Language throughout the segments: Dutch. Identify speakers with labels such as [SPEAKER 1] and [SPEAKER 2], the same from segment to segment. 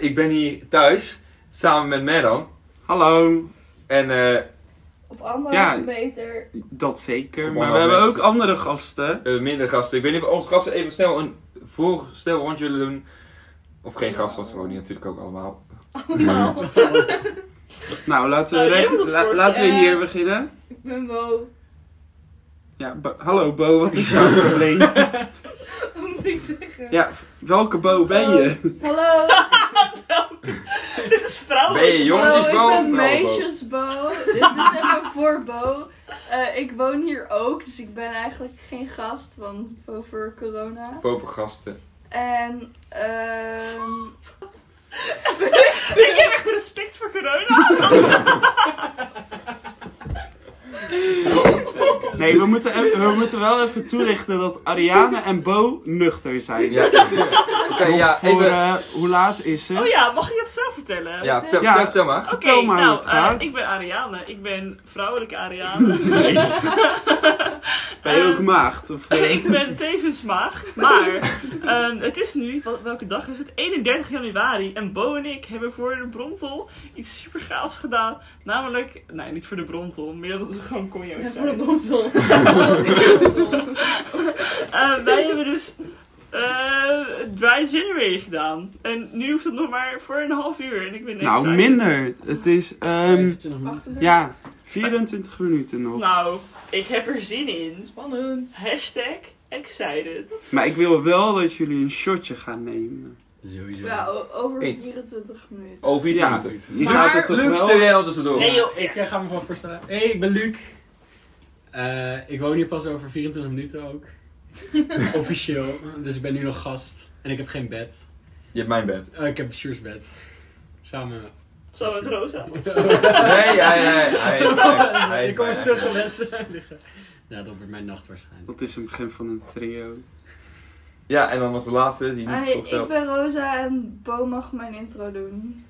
[SPEAKER 1] Ik ben hier thuis, samen met Meron.
[SPEAKER 2] Hallo,
[SPEAKER 1] En eh,
[SPEAKER 3] Op anderhalve
[SPEAKER 2] Ja.
[SPEAKER 3] meter.
[SPEAKER 2] dat zeker.
[SPEAKER 1] Op
[SPEAKER 2] Maar we
[SPEAKER 1] andere
[SPEAKER 2] hebben ook
[SPEAKER 1] mensen.
[SPEAKER 2] andere gasten.
[SPEAKER 1] eh, minder gasten. Ik weet niet of onze gasten even snel een voorstel rondje willen doen. Of geen gasten, want ze wonen hier natuurlijk ook allemaal.
[SPEAKER 3] Allemaal.
[SPEAKER 2] Nou, laten we,
[SPEAKER 4] Nou, jij
[SPEAKER 2] reg-
[SPEAKER 4] moet ons
[SPEAKER 2] la-
[SPEAKER 4] voorstellen.
[SPEAKER 2] laten we hier
[SPEAKER 3] Ja.
[SPEAKER 2] beginnen.
[SPEAKER 3] ik ben Mo.
[SPEAKER 2] Ja, Bo- hallo Bo, wat is jouw probleem?
[SPEAKER 3] Wat moet ik zeggen?
[SPEAKER 2] Ja, welke Bo ben je?
[SPEAKER 3] Hallo.
[SPEAKER 4] Dit is vrouwelijk.
[SPEAKER 1] Ben je jongetjes
[SPEAKER 3] Hallo, ik ben
[SPEAKER 1] boven?
[SPEAKER 3] meisjesbo. dit, dit is even voor Bo. Eh, ik woon hier ook, dus ik ben eigenlijk geen gast, want over corona.
[SPEAKER 1] Boven gasten.
[SPEAKER 3] En ehm
[SPEAKER 4] Ik heb echt respect voor corona.
[SPEAKER 2] Nee, we moeten, e- we moeten wel even toelichten dat Ariane en Bo nuchter zijn.
[SPEAKER 1] Ja, Oké, ja,
[SPEAKER 2] Voor,
[SPEAKER 1] even.
[SPEAKER 2] eh, hoe laat is het?
[SPEAKER 4] Oh ja, mag ik dat zelf vertellen?
[SPEAKER 1] Ja, vertel,
[SPEAKER 2] Ja.
[SPEAKER 1] vertel, vertel maar.
[SPEAKER 4] Oké,
[SPEAKER 2] vertel maar hoe
[SPEAKER 4] nou,
[SPEAKER 2] het gaat.
[SPEAKER 4] eh, ik ben Ariane. Ik ben vrouwelijke Ariane.
[SPEAKER 2] Nee. Ben je ook
[SPEAKER 4] Ehm,
[SPEAKER 2] maagd? Of, eh?
[SPEAKER 4] ik ben tevens maagd. Maar ehm, het is nu, wel- welke dag is het? 31 januari. En Bo en ik hebben voor de Brontel iets super gaafs gedaan. Namelijk, nee, niet voor de Brontel. Meer dan gewoon conjo's zijn.
[SPEAKER 3] bonzol.
[SPEAKER 4] Eh, wij hebben dus eh, Dry January gedaan. En nu hoeft het nog maar voor een half uur. En ik ben net
[SPEAKER 2] nou,
[SPEAKER 4] saai.
[SPEAKER 2] minder. Het is, ehm ja, 24 minuten nog.
[SPEAKER 4] Nou, ik heb er zin in.
[SPEAKER 5] Spannend.
[SPEAKER 4] Hashtag excited.
[SPEAKER 2] Maar ik wil wel dat jullie een shotje gaan nemen.
[SPEAKER 5] Sowieso.
[SPEAKER 3] Ja, o- over
[SPEAKER 1] Eens.
[SPEAKER 3] 24 minuten.
[SPEAKER 1] Over iets
[SPEAKER 2] Ja.
[SPEAKER 1] anders.
[SPEAKER 2] Je
[SPEAKER 3] Maar
[SPEAKER 2] gaat het toch
[SPEAKER 1] Leuk
[SPEAKER 2] wel...
[SPEAKER 1] stel tussendoor.
[SPEAKER 4] Nee, joh.
[SPEAKER 5] Ik eh, ga me gewoon voorstellen. Hé, hey, ik ben Luc. Eh, ik woon hier pas over 24 minuten ook. Officieel. Dus ik ben nu nog gast. En ik heb geen bed.
[SPEAKER 1] Je hebt mijn bed.
[SPEAKER 5] Eh, ik heb Sjoerds bed. Samen.
[SPEAKER 4] Zo met Rosa.
[SPEAKER 1] Nee, hij, hij, hij, hij, hij-
[SPEAKER 5] ik kom er
[SPEAKER 1] hij-
[SPEAKER 5] tussen mensen liggen. Nou, dat wordt mijn nacht waarschijnlijk.
[SPEAKER 2] Dat is een begin van een trio.
[SPEAKER 1] Ja, en dan nog de laatste, die niet
[SPEAKER 3] Hi,
[SPEAKER 1] is
[SPEAKER 3] ik
[SPEAKER 1] opgesteld.
[SPEAKER 3] ben Rosa en Bo mag mijn intro doen.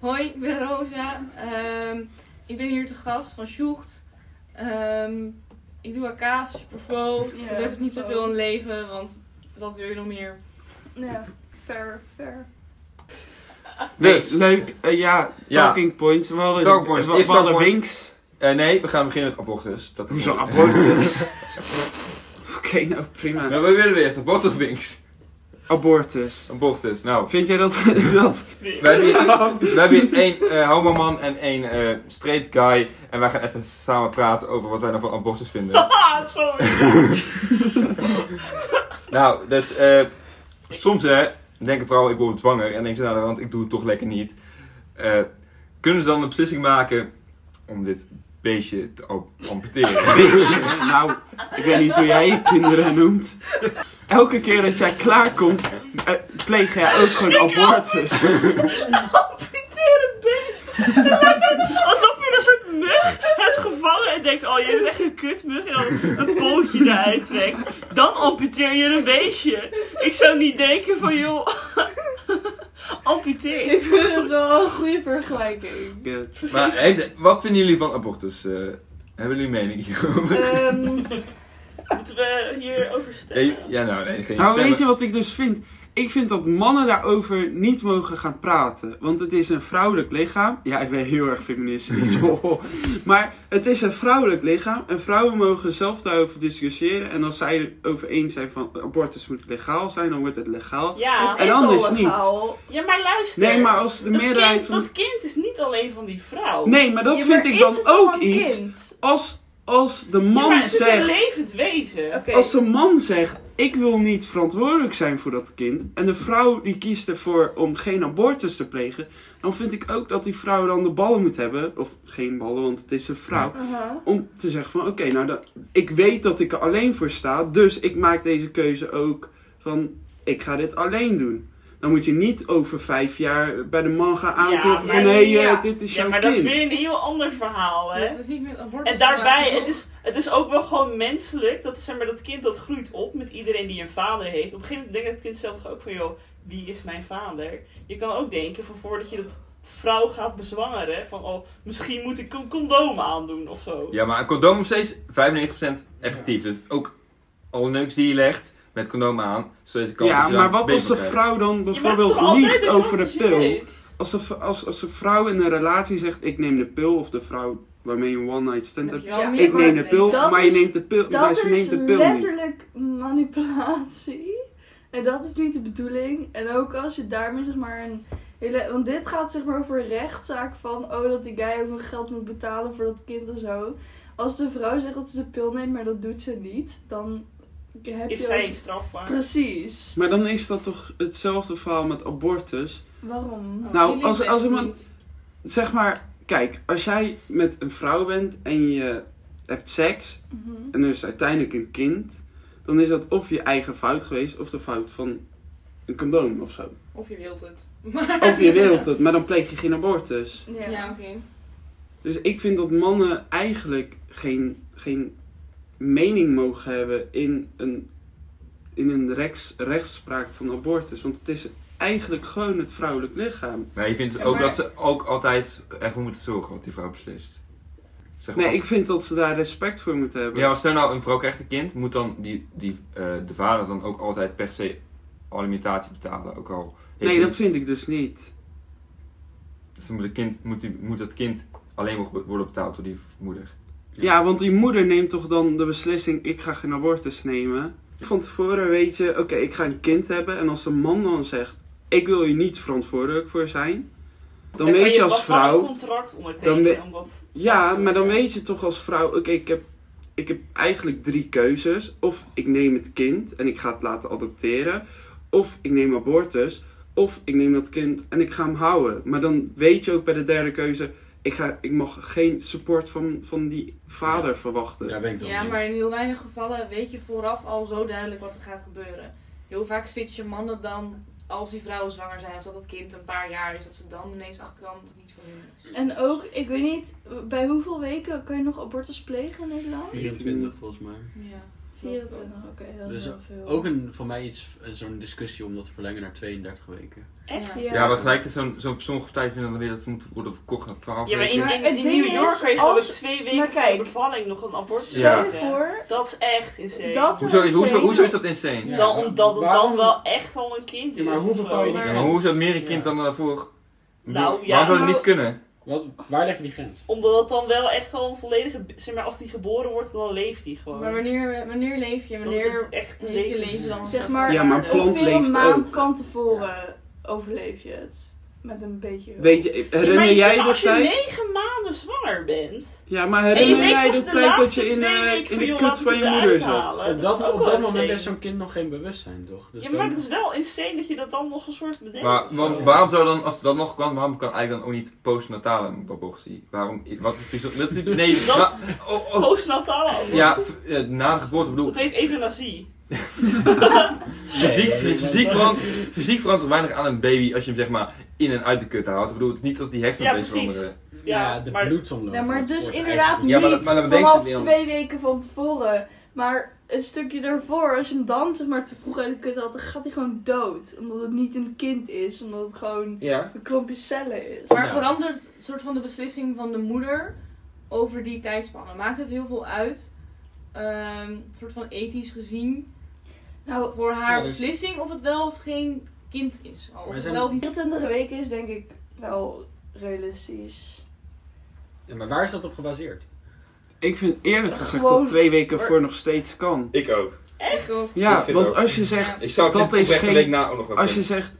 [SPEAKER 6] Hoi, ik ben Rosa. Ehm, ik ben hier te gast van Sjoegt. Ehm, ik doe AK, superfo.
[SPEAKER 3] Ja,
[SPEAKER 6] ik doe ook niet
[SPEAKER 3] Fo.
[SPEAKER 6] zoveel in het leven, want wat wil je nog meer?
[SPEAKER 3] Ja, fair, fair.
[SPEAKER 1] Dus,
[SPEAKER 2] Nee, leuk. Eh, ja,
[SPEAKER 1] Ja.
[SPEAKER 2] talking points. We hadden,
[SPEAKER 1] Talking points.
[SPEAKER 2] we-
[SPEAKER 1] Eerst
[SPEAKER 2] we hadden
[SPEAKER 1] talking points.
[SPEAKER 2] winks.
[SPEAKER 1] eh, nee, we gaan beginnen met abortus. Dat is
[SPEAKER 2] Hoezo
[SPEAKER 1] onze-
[SPEAKER 2] abortus? Oké, nou prima.
[SPEAKER 1] Nou, we willen eerst abortus of links?
[SPEAKER 2] Abortus.
[SPEAKER 1] Abortus, nou.
[SPEAKER 2] Vind jij dat... dat...
[SPEAKER 4] Nee.
[SPEAKER 1] We hebben hier, we hebben hier één eh, homoman en één eh, straight guy. En wij gaan even samen praten over wat wij nou van abortus vinden.
[SPEAKER 4] Ah, sorry.
[SPEAKER 1] nou, dus eh, soms hè, denken vrouwen ik word zwanger. En denken ze nou, want ik doe het toch lekker niet. Eh, kunnen ze dan een beslissing maken om dit beestje te am- amputeren?
[SPEAKER 2] nou, ik weet niet hoe jij je kinderen noemt. Elke keer dat jij klaarkomt, eh, pleeg jij ook gewoon abortus.
[SPEAKER 4] Amputeer het been. Het lijkt net Alsof je een soort mug hebt gevangen en denkt, oh, je bent echt een kutmug. En dan een pootje eruit trekt. Dan amputeer je een beestje. Ik zou niet denken van, joh, amputeer.
[SPEAKER 3] Ik vind het wel een goede vergelijking.
[SPEAKER 2] eh,
[SPEAKER 1] maar heeft, wat vinden jullie van abortus? eh? hebben jullie een mening hierover?
[SPEAKER 6] Eh.
[SPEAKER 3] Ehm,
[SPEAKER 4] Moeten we hierover stemmen?
[SPEAKER 1] Eh, ja, nou, nee, geen
[SPEAKER 2] Nou,
[SPEAKER 1] stemmen.
[SPEAKER 2] weet je wat ik dus vind? Ik vind dat mannen daarover niet mogen gaan praten. Want het is een vrouwelijk lichaam. Ja, ik ben heel erg feministisch. hoho. maar het is een vrouwelijk lichaam. En vrouwen mogen zelf daarover discussiëren. En als zij erover eens zijn van abortus moet legaal zijn, dan wordt het legaal.
[SPEAKER 4] Ja,
[SPEAKER 3] het
[SPEAKER 2] en
[SPEAKER 3] is
[SPEAKER 2] anders
[SPEAKER 3] al
[SPEAKER 2] niet.
[SPEAKER 3] legaal.
[SPEAKER 4] ja, maar luister.
[SPEAKER 2] Nee, maar als de
[SPEAKER 4] dat
[SPEAKER 2] meerderheid
[SPEAKER 4] kind,
[SPEAKER 2] van...
[SPEAKER 4] Dat kind is niet alleen van die vrouw.
[SPEAKER 2] Nee, maar dat
[SPEAKER 3] Ja,
[SPEAKER 2] vind
[SPEAKER 3] maar
[SPEAKER 2] ik
[SPEAKER 3] is
[SPEAKER 2] dan
[SPEAKER 3] het dan
[SPEAKER 2] ook
[SPEAKER 3] een
[SPEAKER 2] iets.
[SPEAKER 3] kind?
[SPEAKER 2] Als, als de
[SPEAKER 4] Ja,
[SPEAKER 2] man
[SPEAKER 4] maar het is een
[SPEAKER 2] zegt...
[SPEAKER 4] levend wezen.
[SPEAKER 3] Oké.
[SPEAKER 2] Als de man zegt, ik wil niet verantwoordelijk zijn voor dat kind, en de vrouw die kiest ervoor om geen abortus te plegen, dan vind ik ook dat die vrouw dan de ballen moet hebben, of geen ballen, want het is een vrouw,
[SPEAKER 3] Aha.
[SPEAKER 2] om te zeggen van, oké, nou, dat, ik weet dat ik er alleen voor sta, dus ik maak deze keuze ook van, ik ga dit alleen doen. Dan moet je niet over vijf jaar bij de man gaan aankloppen
[SPEAKER 4] Ja,
[SPEAKER 2] van,
[SPEAKER 4] maar-
[SPEAKER 2] hé, hey, eh,
[SPEAKER 3] ja.
[SPEAKER 2] dit is
[SPEAKER 4] Ja,
[SPEAKER 2] jouw
[SPEAKER 4] maar dat
[SPEAKER 2] kind.
[SPEAKER 4] is weer een heel ander verhaal, hè?
[SPEAKER 6] Dat is niet meer abortus.
[SPEAKER 4] En daarbij,
[SPEAKER 6] maar-
[SPEAKER 4] het is, het is ook wel gewoon menselijk. Dat, is, zeg maar, dat kind dat groeit op met iedereen die een vader heeft. Op een gegeven moment denkt het kind zelf toch ook van, joh, wie is mijn vader? Je kan ook denken van voordat je dat vrouw gaat bezwangeren, van oh, misschien moet ik een condoom aandoen of zo.
[SPEAKER 1] Ja, maar een condoom is steeds 95% effectief. Dus ook alle neuks die je legt, met condoom aan, zodat je kan
[SPEAKER 2] Ja, maar wat als de vrouw dan
[SPEAKER 4] Ja, maar het is
[SPEAKER 2] bijvoorbeeld
[SPEAKER 4] toch altijd
[SPEAKER 2] liegt
[SPEAKER 4] een
[SPEAKER 2] over de
[SPEAKER 4] kant dat je
[SPEAKER 2] pil?
[SPEAKER 4] weet?
[SPEAKER 2] Als de, v- als, als de vrouw in een relatie zegt, ik neem de pil, of de vrouw waarmee je een one-night stand hebt,
[SPEAKER 6] Ja,
[SPEAKER 2] ik neem de pil,
[SPEAKER 6] Dat
[SPEAKER 2] maar je
[SPEAKER 6] is-
[SPEAKER 2] neemt de pil, maar
[SPEAKER 6] Dat
[SPEAKER 2] ze
[SPEAKER 6] is
[SPEAKER 2] neemt de pil niet.
[SPEAKER 6] letterlijk manipulatie. En dat is niet de bedoeling. En ook als je daarmee zeg maar een hele... Want dit gaat zeg maar over een rechtszaak van... Oh, dat die guy ook nog geld moet betalen voor dat kind en zo. Als de vrouw zegt dat ze de pil neemt, maar dat doet ze niet, dan heb
[SPEAKER 4] Is
[SPEAKER 6] je...
[SPEAKER 4] zij
[SPEAKER 6] ook-
[SPEAKER 4] strafbaar?
[SPEAKER 6] Precies.
[SPEAKER 2] Maar dan is dat toch hetzelfde verhaal met abortus?
[SPEAKER 6] Waarom?
[SPEAKER 2] Nou,
[SPEAKER 7] Jullie
[SPEAKER 2] als- als
[SPEAKER 7] weten
[SPEAKER 2] iemand-
[SPEAKER 7] niet.
[SPEAKER 2] Zeg maar, kijk, als jij met een vrouw bent en je hebt seks
[SPEAKER 6] Mhm.
[SPEAKER 2] en er is uiteindelijk een kind, dan is dat of je eigen fout geweest of de fout van een condoom of zo.
[SPEAKER 7] Of je wilt het.
[SPEAKER 2] Of je wilt het, maar dan pleeg je geen abortus.
[SPEAKER 6] Ja.
[SPEAKER 7] Ja,
[SPEAKER 6] ja.
[SPEAKER 7] oké.
[SPEAKER 2] Dus ik vind dat mannen eigenlijk geen, geen mening mogen hebben in een, in een rechts, rechtspraak van abortus. Want het is eigenlijk gewoon het vrouwelijk lichaam.
[SPEAKER 1] Maar je vindt
[SPEAKER 6] Ja,
[SPEAKER 1] ook
[SPEAKER 6] maar-
[SPEAKER 1] dat ze ook altijd ervoor moeten zorgen wat die vrouw beslist. Zeg maar,
[SPEAKER 2] Nee,
[SPEAKER 1] als-
[SPEAKER 2] ik vind dat ze daar respect voor moeten hebben.
[SPEAKER 1] Ja, maar stel nou, een vrouw krijgt een kind, moet dan die, die, eh, de vader dan ook altijd per se alimentatie betalen? Ook al heeft
[SPEAKER 2] nee,
[SPEAKER 1] hij-
[SPEAKER 2] dat vind ik dus niet.
[SPEAKER 1] Dus dan moet, het kind, moet, die, moet dat kind alleen nog be- worden betaald door die moeder.
[SPEAKER 2] Ja, want die moeder neemt toch dan de beslissing: ik ga geen abortus nemen. Van tevoren weet je, oké, ik ga een kind hebben. En als de man dan zegt: ik wil hier niet verantwoordelijk voor zijn, dan,
[SPEAKER 4] kan
[SPEAKER 2] weet je als
[SPEAKER 4] vast wel een
[SPEAKER 2] vrouw.
[SPEAKER 4] contract
[SPEAKER 2] dan
[SPEAKER 4] ondertekenen.
[SPEAKER 2] we-
[SPEAKER 4] omdat-
[SPEAKER 2] Ja, maar dan weet je toch als vrouw: oké, ik, heb, ik heb eigenlijk drie keuzes. Of ik neem het kind en ik ga het laten adopteren. Of ik neem abortus. Of ik neem dat kind en ik ga hem houden. Maar dan weet je ook bij de derde keuze: ik, ga, ik mag geen support van, van die vader verwachten.
[SPEAKER 5] Daar ben ik dan
[SPEAKER 7] Ja,
[SPEAKER 5] niet
[SPEAKER 7] maar
[SPEAKER 5] eens.
[SPEAKER 7] in heel weinig gevallen weet je vooraf al zo duidelijk wat er gaat gebeuren. Heel vaak switchen mannen dan, als die vrouwen zwanger zijn, of dat het kind een paar jaar is, dat ze dan ineens achterkomen dat het niet voor hun is.
[SPEAKER 6] En ook, ik weet niet, bij hoeveel weken kan je nog abortus plegen in Nederland?
[SPEAKER 5] 24 volgens mij.
[SPEAKER 7] Ja.
[SPEAKER 6] 24, oké, dat is
[SPEAKER 5] Dus
[SPEAKER 6] wel veel.
[SPEAKER 5] Ook een, voor mij iets, eh, zo'n discussie om dat te verlengen naar 32 weken.
[SPEAKER 4] Echt?
[SPEAKER 6] Ja.
[SPEAKER 1] Ja, maar tegelijkertijd zo'n zo'n sommige tijd vinden dan weer dat het moet worden verkocht naar 12
[SPEAKER 4] Ja, maar in,
[SPEAKER 1] weken.
[SPEAKER 4] in,
[SPEAKER 6] het
[SPEAKER 4] in
[SPEAKER 6] ding
[SPEAKER 4] New York
[SPEAKER 6] is,
[SPEAKER 4] kan je gewoon
[SPEAKER 6] als-
[SPEAKER 4] met twee weken
[SPEAKER 6] maar
[SPEAKER 4] voor
[SPEAKER 6] kijk,
[SPEAKER 4] de bevalling nog een abortus
[SPEAKER 6] Stel je
[SPEAKER 4] krijgen.
[SPEAKER 6] voor,
[SPEAKER 4] Dat is echt insane.
[SPEAKER 6] Dat-
[SPEAKER 1] Hoezo,
[SPEAKER 6] Ja,
[SPEAKER 1] hoezo, hoezo
[SPEAKER 6] zeker.
[SPEAKER 1] is dat insane?
[SPEAKER 5] Ja.
[SPEAKER 4] Dan omdat het
[SPEAKER 5] Waarom-
[SPEAKER 4] dan wel echt al een kind
[SPEAKER 5] Ja,
[SPEAKER 4] is.
[SPEAKER 5] maar hoe
[SPEAKER 4] of zo.
[SPEAKER 5] bepaal je die
[SPEAKER 1] Ja,
[SPEAKER 4] Maar-
[SPEAKER 1] maar hoe is dat meer een kind dan daarvoor? Waarom
[SPEAKER 4] Nou, ja,
[SPEAKER 1] zou dat
[SPEAKER 4] maar-
[SPEAKER 1] niet kunnen?
[SPEAKER 5] Wat, waar leg je die grens?
[SPEAKER 4] Omdat het dan wel echt al een volledige... Zeg maar, als die geboren wordt, dan leeft hij gewoon.
[SPEAKER 7] Maar wanneer, wanneer leef je?
[SPEAKER 4] Dat is
[SPEAKER 7] Wanneer
[SPEAKER 4] echt een
[SPEAKER 7] heeft je
[SPEAKER 4] leven.
[SPEAKER 7] leven dan?
[SPEAKER 6] Zeg maar-
[SPEAKER 2] Ja, maar
[SPEAKER 7] een
[SPEAKER 2] plant-
[SPEAKER 6] ongeveer
[SPEAKER 2] leeft
[SPEAKER 6] een maand
[SPEAKER 2] ook.
[SPEAKER 6] van tevoren overleef je het. Met een beetje hulp.
[SPEAKER 2] Weet je,
[SPEAKER 4] Ja, maar
[SPEAKER 2] herinner
[SPEAKER 4] je
[SPEAKER 2] jij
[SPEAKER 4] zegt,
[SPEAKER 2] de
[SPEAKER 4] als je
[SPEAKER 2] tijd?
[SPEAKER 4] negen maanden zwaar bent...
[SPEAKER 2] Ja, maar
[SPEAKER 4] En je
[SPEAKER 2] herinner
[SPEAKER 4] weet
[SPEAKER 2] jij
[SPEAKER 4] pas
[SPEAKER 2] de
[SPEAKER 4] de
[SPEAKER 2] tijd dat
[SPEAKER 4] laatste
[SPEAKER 2] je in,
[SPEAKER 4] twee
[SPEAKER 2] eh,
[SPEAKER 4] weken
[SPEAKER 2] in
[SPEAKER 4] van,
[SPEAKER 2] de
[SPEAKER 4] joh,
[SPEAKER 2] kut
[SPEAKER 4] laat
[SPEAKER 2] van
[SPEAKER 4] het
[SPEAKER 2] je
[SPEAKER 4] eruit
[SPEAKER 2] moeder
[SPEAKER 4] halen.
[SPEAKER 2] zat?
[SPEAKER 4] Maar
[SPEAKER 5] op
[SPEAKER 4] dat
[SPEAKER 5] dat,
[SPEAKER 4] is ook
[SPEAKER 5] op
[SPEAKER 4] wel
[SPEAKER 5] dat moment
[SPEAKER 4] insane.
[SPEAKER 5] heeft zo'n kind nog geen bewustzijn, toch? Dus
[SPEAKER 4] ja, maar
[SPEAKER 5] dan-
[SPEAKER 4] het is wel insane dat je dat dan nog een soort bedenkt.
[SPEAKER 1] Maar
[SPEAKER 4] of zo.
[SPEAKER 1] waarom- waarom zou dan, als dat nog kan, waarom kan eigenlijk dan ook niet postnatale abortie? Waarom, wat is het dat is- Nee,
[SPEAKER 4] Dat-
[SPEAKER 1] maar- oh, oh,
[SPEAKER 4] Postnatale abortus.
[SPEAKER 1] ja, v- eh, na de geboorte bedoel
[SPEAKER 4] Dat heet euthanasie.
[SPEAKER 1] fysiek,
[SPEAKER 5] Nee, nee,
[SPEAKER 1] fysiek,
[SPEAKER 5] nee.
[SPEAKER 1] verand- fysiek verandert weinig aan een baby als je hem zeg maar in en uit de kut haalt. Ik bedoel, het is niet als die hersenen
[SPEAKER 4] Ja,
[SPEAKER 1] opeens
[SPEAKER 4] precies.
[SPEAKER 1] veranderen.
[SPEAKER 5] ja,
[SPEAKER 4] Ja,
[SPEAKER 5] de
[SPEAKER 4] maar-
[SPEAKER 5] bloedsomloop.
[SPEAKER 6] Ja, maar
[SPEAKER 5] wordt
[SPEAKER 6] dus
[SPEAKER 5] eigenlijk-
[SPEAKER 6] inderdaad niet
[SPEAKER 1] Ja, maar dat- maar dat bedenkt het
[SPEAKER 6] vanaf
[SPEAKER 1] niet anders.
[SPEAKER 6] twee weken van tevoren. Maar een stukje daarvoor, als je hem dan zeg maar te vroeg uit de kut had, dan gaat hij gewoon dood. Omdat het niet een kind is, omdat het gewoon
[SPEAKER 2] Ja.
[SPEAKER 6] een klompje cellen is.
[SPEAKER 7] Maar verandert soort van de beslissing van de moeder over die tijdspannen? Maakt het heel veel uit? Ehm soort van ethisch gezien
[SPEAKER 6] Nou,
[SPEAKER 7] voor haar
[SPEAKER 5] Ja, dus-
[SPEAKER 7] beslissing of het wel of geen kind is. Al,
[SPEAKER 5] Maar
[SPEAKER 7] of het
[SPEAKER 5] zijn-
[SPEAKER 7] wel die
[SPEAKER 6] 24 weken is denk ik wel realistisch.
[SPEAKER 5] Ja, maar waar is dat op gebaseerd?
[SPEAKER 2] Ik vind eerlijk gezegd
[SPEAKER 6] Gewoon-
[SPEAKER 2] dat twee weken voor nog steeds kan.
[SPEAKER 1] Ik ook.
[SPEAKER 4] echt?
[SPEAKER 2] Ja,
[SPEAKER 1] Ik vind
[SPEAKER 2] want
[SPEAKER 1] ook.
[SPEAKER 2] als je zegt,
[SPEAKER 1] Ik zou
[SPEAKER 2] het Dat in- is oprecht een geen- week
[SPEAKER 1] na ook nog wel
[SPEAKER 2] als je zegt,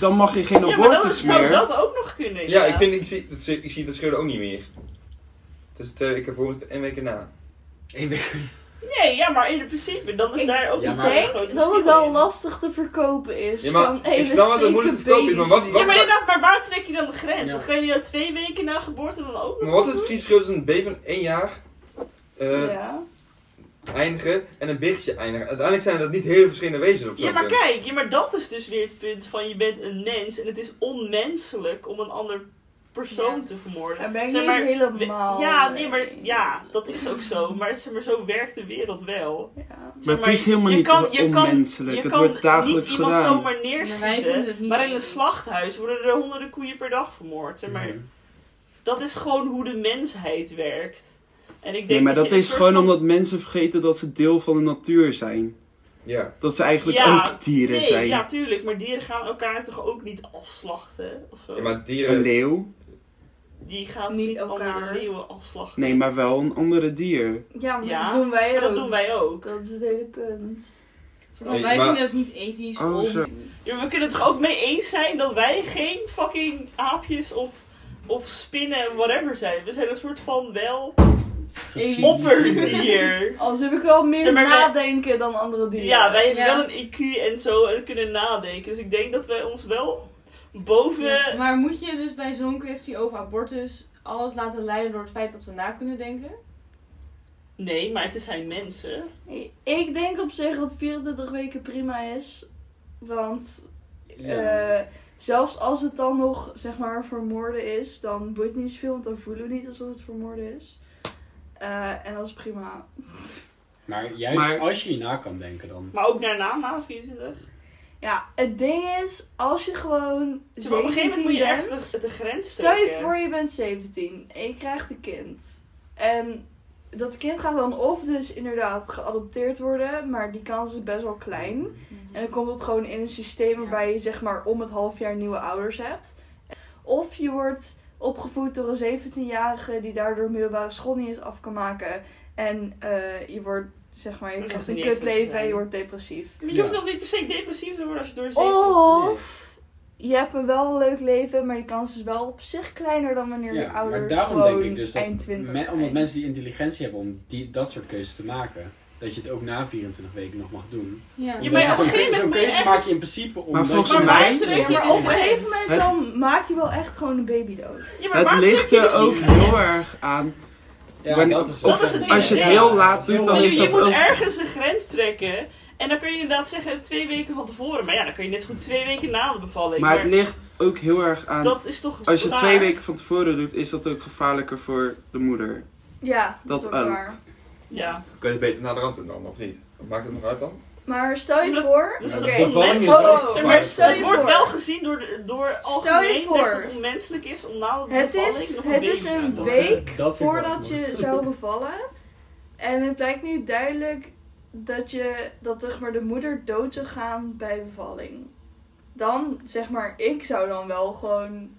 [SPEAKER 2] dan mag je geen
[SPEAKER 4] Ja, maar dan
[SPEAKER 2] abortus
[SPEAKER 4] zou
[SPEAKER 2] meer.
[SPEAKER 4] dat ook nog kunnen. inderdaad.
[SPEAKER 1] zie, dat, ik zie dat schreeuwen ook niet meer. Dus eh, Tussen twee weken voor en twee weken na.
[SPEAKER 5] Eén week.
[SPEAKER 4] Nee, ja, maar in principe, dan is
[SPEAKER 6] Ik
[SPEAKER 4] daar ook
[SPEAKER 5] Ja,
[SPEAKER 6] Ik
[SPEAKER 4] niet
[SPEAKER 5] maar-
[SPEAKER 4] zo'n
[SPEAKER 6] denk
[SPEAKER 4] groot
[SPEAKER 6] dat het
[SPEAKER 4] verschil
[SPEAKER 6] wel
[SPEAKER 4] in.
[SPEAKER 6] lastig te verkopen is.
[SPEAKER 1] Ja, maar
[SPEAKER 6] van,
[SPEAKER 1] ik
[SPEAKER 6] hey, we
[SPEAKER 1] snap wel dat het
[SPEAKER 6] steken
[SPEAKER 1] moeilijk te verkopen is, maar wat-
[SPEAKER 6] baby's
[SPEAKER 4] Ja,
[SPEAKER 1] wat-
[SPEAKER 6] in.
[SPEAKER 4] maar inderdaad, maar waar trek je dan de grens?
[SPEAKER 5] Ja.
[SPEAKER 4] Dat kan je dan twee weken na geboorte dan ook nog doen?
[SPEAKER 1] precies verschil tussen een baby van één jaar eh,
[SPEAKER 6] Ja.
[SPEAKER 1] eindigen en een biggetje eindigen? Uiteindelijk zijn dat niet heel verschillende wezens op
[SPEAKER 4] Ja, maar kijk, ja, maar dat is dus weer het punt van je bent een mens en het is onmenselijk om een ander persoon
[SPEAKER 7] Ja.
[SPEAKER 4] te vermoorden.
[SPEAKER 6] Daar ben ik
[SPEAKER 4] Zeg
[SPEAKER 6] niet
[SPEAKER 4] maar,
[SPEAKER 6] helemaal
[SPEAKER 4] Ja,
[SPEAKER 6] mee
[SPEAKER 4] nee, maar ja, dat is ook zo. Maar, zeg maar zo werkt de wereld wel.
[SPEAKER 6] Ja.
[SPEAKER 4] Zeg
[SPEAKER 2] Maar het is helemaal
[SPEAKER 4] je
[SPEAKER 2] niet
[SPEAKER 4] kan- je kan-
[SPEAKER 2] onmenselijk.
[SPEAKER 4] je
[SPEAKER 2] Het
[SPEAKER 4] kan
[SPEAKER 2] wordt dagelijks
[SPEAKER 4] niet iemand
[SPEAKER 2] gedaan.
[SPEAKER 4] zomaar
[SPEAKER 7] Maar wij vinden het
[SPEAKER 4] neerschieten,
[SPEAKER 7] niet
[SPEAKER 4] maar in een
[SPEAKER 7] eens.
[SPEAKER 4] slachthuis worden er honderden koeien per dag vermoord. Zeg maar, Dat is gewoon hoe de mensheid werkt. En ik denk
[SPEAKER 2] Nee, maar dat
[SPEAKER 4] je een
[SPEAKER 2] is
[SPEAKER 4] soort
[SPEAKER 2] gewoon
[SPEAKER 4] van-
[SPEAKER 2] omdat mensen vergeten dat ze deel van de natuur zijn.
[SPEAKER 1] Ja.
[SPEAKER 2] Dat ze eigenlijk
[SPEAKER 4] Ja,
[SPEAKER 2] ook dieren
[SPEAKER 4] nee,
[SPEAKER 2] zijn.
[SPEAKER 4] ja, tuurlijk. Maar dieren gaan elkaar toch ook niet afslachten? Of zo?
[SPEAKER 1] Ja, maar
[SPEAKER 2] Een
[SPEAKER 1] dieren...
[SPEAKER 2] leeuw?
[SPEAKER 4] Die gaan
[SPEAKER 6] Niet
[SPEAKER 4] niet, elkaar.
[SPEAKER 6] elkaar.
[SPEAKER 4] andere leeuwen afslachten.
[SPEAKER 2] Nee, maar wel een andere dier.
[SPEAKER 6] Ja, maar
[SPEAKER 4] Ja,
[SPEAKER 6] dat doen wij
[SPEAKER 4] Maar
[SPEAKER 6] ook.
[SPEAKER 4] dat doen wij ook.
[SPEAKER 6] Dat is het hele punt.
[SPEAKER 8] Want
[SPEAKER 1] Nee,
[SPEAKER 8] wij
[SPEAKER 1] maar-
[SPEAKER 8] vinden het niet ethisch
[SPEAKER 2] Oh,
[SPEAKER 8] om...
[SPEAKER 2] zo.
[SPEAKER 4] Ja, we kunnen het toch ook mee eens zijn dat wij geen fucking aapjes of, of spinnen en whatever zijn. We zijn een soort van wel
[SPEAKER 8] Aliens.
[SPEAKER 4] opperdier.
[SPEAKER 6] Anders heb ik wel meer
[SPEAKER 4] Zeg maar, wij-
[SPEAKER 6] nadenken dan andere dieren.
[SPEAKER 4] Ja, wij hebben
[SPEAKER 8] Ja.
[SPEAKER 4] wel een IQ en zo en kunnen nadenken. Dus ik denk dat wij ons wel boven...
[SPEAKER 8] Ja, Maar moet je dus bij zo'n kwestie over abortus alles laten leiden door het feit dat we na kunnen denken?
[SPEAKER 4] Nee, maar het zijn mensen.
[SPEAKER 6] Ik denk op zich dat 24 weken prima is. Want
[SPEAKER 5] Ja.
[SPEAKER 6] eh, zelfs als het dan nog zeg maar vermoorden is, dan boeit het niet zoveel, want dan voelen we niet alsof het vermoorden is. Eh, en dat is prima.
[SPEAKER 5] Maar juist
[SPEAKER 2] Maar-
[SPEAKER 5] als je hierna kan denken dan.
[SPEAKER 4] Maar ook daarna, na 24.
[SPEAKER 6] Ja, het ding is, als je gewoon
[SPEAKER 4] Zeg maar, Dus op een gegeven
[SPEAKER 6] 17
[SPEAKER 4] moment moet je
[SPEAKER 6] bent,
[SPEAKER 4] echt de, de grens
[SPEAKER 6] Stel je
[SPEAKER 4] trekken.
[SPEAKER 6] voor je bent 17 en je krijgt een kind. En dat kind gaat dan of dus inderdaad geadopteerd worden, maar die kans is best wel klein.
[SPEAKER 4] Mhm.
[SPEAKER 6] En dan komt het gewoon in een systeem waarbij je zeg maar om het half jaar nieuwe ouders hebt. Of je wordt opgevoed door een 17-jarige die daardoor middelbare school niet eens af kan maken. En eh, je wordt zeg maar, je
[SPEAKER 4] Dat
[SPEAKER 6] krijgt
[SPEAKER 4] hoeft
[SPEAKER 6] een
[SPEAKER 4] niet eens zo te
[SPEAKER 6] kutleven
[SPEAKER 4] zijn.
[SPEAKER 6] en je wordt depressief.
[SPEAKER 4] Maar je
[SPEAKER 5] Ja.
[SPEAKER 4] hoeft dan niet per se depressief te worden als je door je 17
[SPEAKER 8] Oh!
[SPEAKER 6] Of je hebt een wel een leuk leven, maar die kans is wel op zich kleiner dan wanneer
[SPEAKER 5] Ja,
[SPEAKER 6] je
[SPEAKER 5] maar
[SPEAKER 6] ouders
[SPEAKER 5] daarom
[SPEAKER 6] gewoon
[SPEAKER 5] denk ik dus dat
[SPEAKER 6] eind 20
[SPEAKER 5] Me-
[SPEAKER 6] zijn.
[SPEAKER 5] omdat mensen die intelligentie hebben om die, dat soort keuzes te maken, dat je het ook na 24 weken nog mag doen.
[SPEAKER 8] Ja.
[SPEAKER 4] Ja,
[SPEAKER 5] Omdat
[SPEAKER 4] maar
[SPEAKER 5] je
[SPEAKER 4] op
[SPEAKER 5] zo'n
[SPEAKER 4] een gegeven
[SPEAKER 5] zo'n
[SPEAKER 4] moment
[SPEAKER 5] keuze
[SPEAKER 4] moet je
[SPEAKER 5] maak je
[SPEAKER 4] ergens-
[SPEAKER 5] in principe omdat
[SPEAKER 2] volgens
[SPEAKER 5] je...
[SPEAKER 2] mij-
[SPEAKER 6] Ja, maar op een gegeven moment
[SPEAKER 2] Het-
[SPEAKER 6] dan maak je wel echt gewoon een baby dood.
[SPEAKER 4] Ja, maar
[SPEAKER 2] Het
[SPEAKER 4] waarom
[SPEAKER 2] ligt
[SPEAKER 4] trek je
[SPEAKER 2] er
[SPEAKER 4] dus
[SPEAKER 2] ook
[SPEAKER 4] die
[SPEAKER 2] heel
[SPEAKER 4] grens?
[SPEAKER 2] erg aan.
[SPEAKER 5] Ja,
[SPEAKER 2] Wanneer-
[SPEAKER 5] dat is
[SPEAKER 4] of als het- als je het
[SPEAKER 2] heel laat doet, dan
[SPEAKER 4] Je-
[SPEAKER 2] is
[SPEAKER 4] je
[SPEAKER 2] dat
[SPEAKER 4] moet
[SPEAKER 2] ook-
[SPEAKER 4] ergens een grens trekken. En dan kun je inderdaad zeggen twee weken van tevoren. Maar ja, dan kun je net zo goed twee weken na de bevalling.
[SPEAKER 2] Maar
[SPEAKER 4] Maar,
[SPEAKER 2] het ligt ook heel erg aan.
[SPEAKER 4] dat is toch
[SPEAKER 2] Als je
[SPEAKER 4] raar.
[SPEAKER 2] twee weken van tevoren doet, is dat ook gevaarlijker voor de moeder.
[SPEAKER 6] Ja, dat,
[SPEAKER 2] Dat
[SPEAKER 6] is ook
[SPEAKER 2] ook.
[SPEAKER 6] waar.
[SPEAKER 4] Ja.
[SPEAKER 1] Kun je het beter naar de rand doen dan, of niet? Wat maakt het nog uit dan?
[SPEAKER 6] Maar stel je
[SPEAKER 4] Omdat-
[SPEAKER 6] voor...
[SPEAKER 4] Dus
[SPEAKER 5] Ja,
[SPEAKER 4] de
[SPEAKER 6] Oké.
[SPEAKER 5] bevalling
[SPEAKER 4] is
[SPEAKER 6] Oh,
[SPEAKER 4] ook-
[SPEAKER 6] oh,
[SPEAKER 4] zeg
[SPEAKER 6] maar
[SPEAKER 4] maar,
[SPEAKER 6] stel
[SPEAKER 4] het
[SPEAKER 6] je
[SPEAKER 4] wordt
[SPEAKER 6] voor.
[SPEAKER 4] wel gezien door, de- door
[SPEAKER 6] Stel je
[SPEAKER 4] algemeen
[SPEAKER 6] voor.
[SPEAKER 4] dat het onmenselijk is om na de
[SPEAKER 6] Het
[SPEAKER 4] bevalling
[SPEAKER 6] is,
[SPEAKER 4] nog een
[SPEAKER 6] het
[SPEAKER 4] baby
[SPEAKER 6] is
[SPEAKER 4] te
[SPEAKER 6] een
[SPEAKER 5] doen.
[SPEAKER 4] hebben.
[SPEAKER 5] week
[SPEAKER 6] week
[SPEAKER 5] Dat vind ik wel
[SPEAKER 6] voordat
[SPEAKER 5] mooi.
[SPEAKER 6] je zou bevallen. En het blijkt nu duidelijk dat, je, dat zeg maar, de moeder dood zou gaan bij bevalling. Dan, zeg maar, ik zou dan wel gewoon,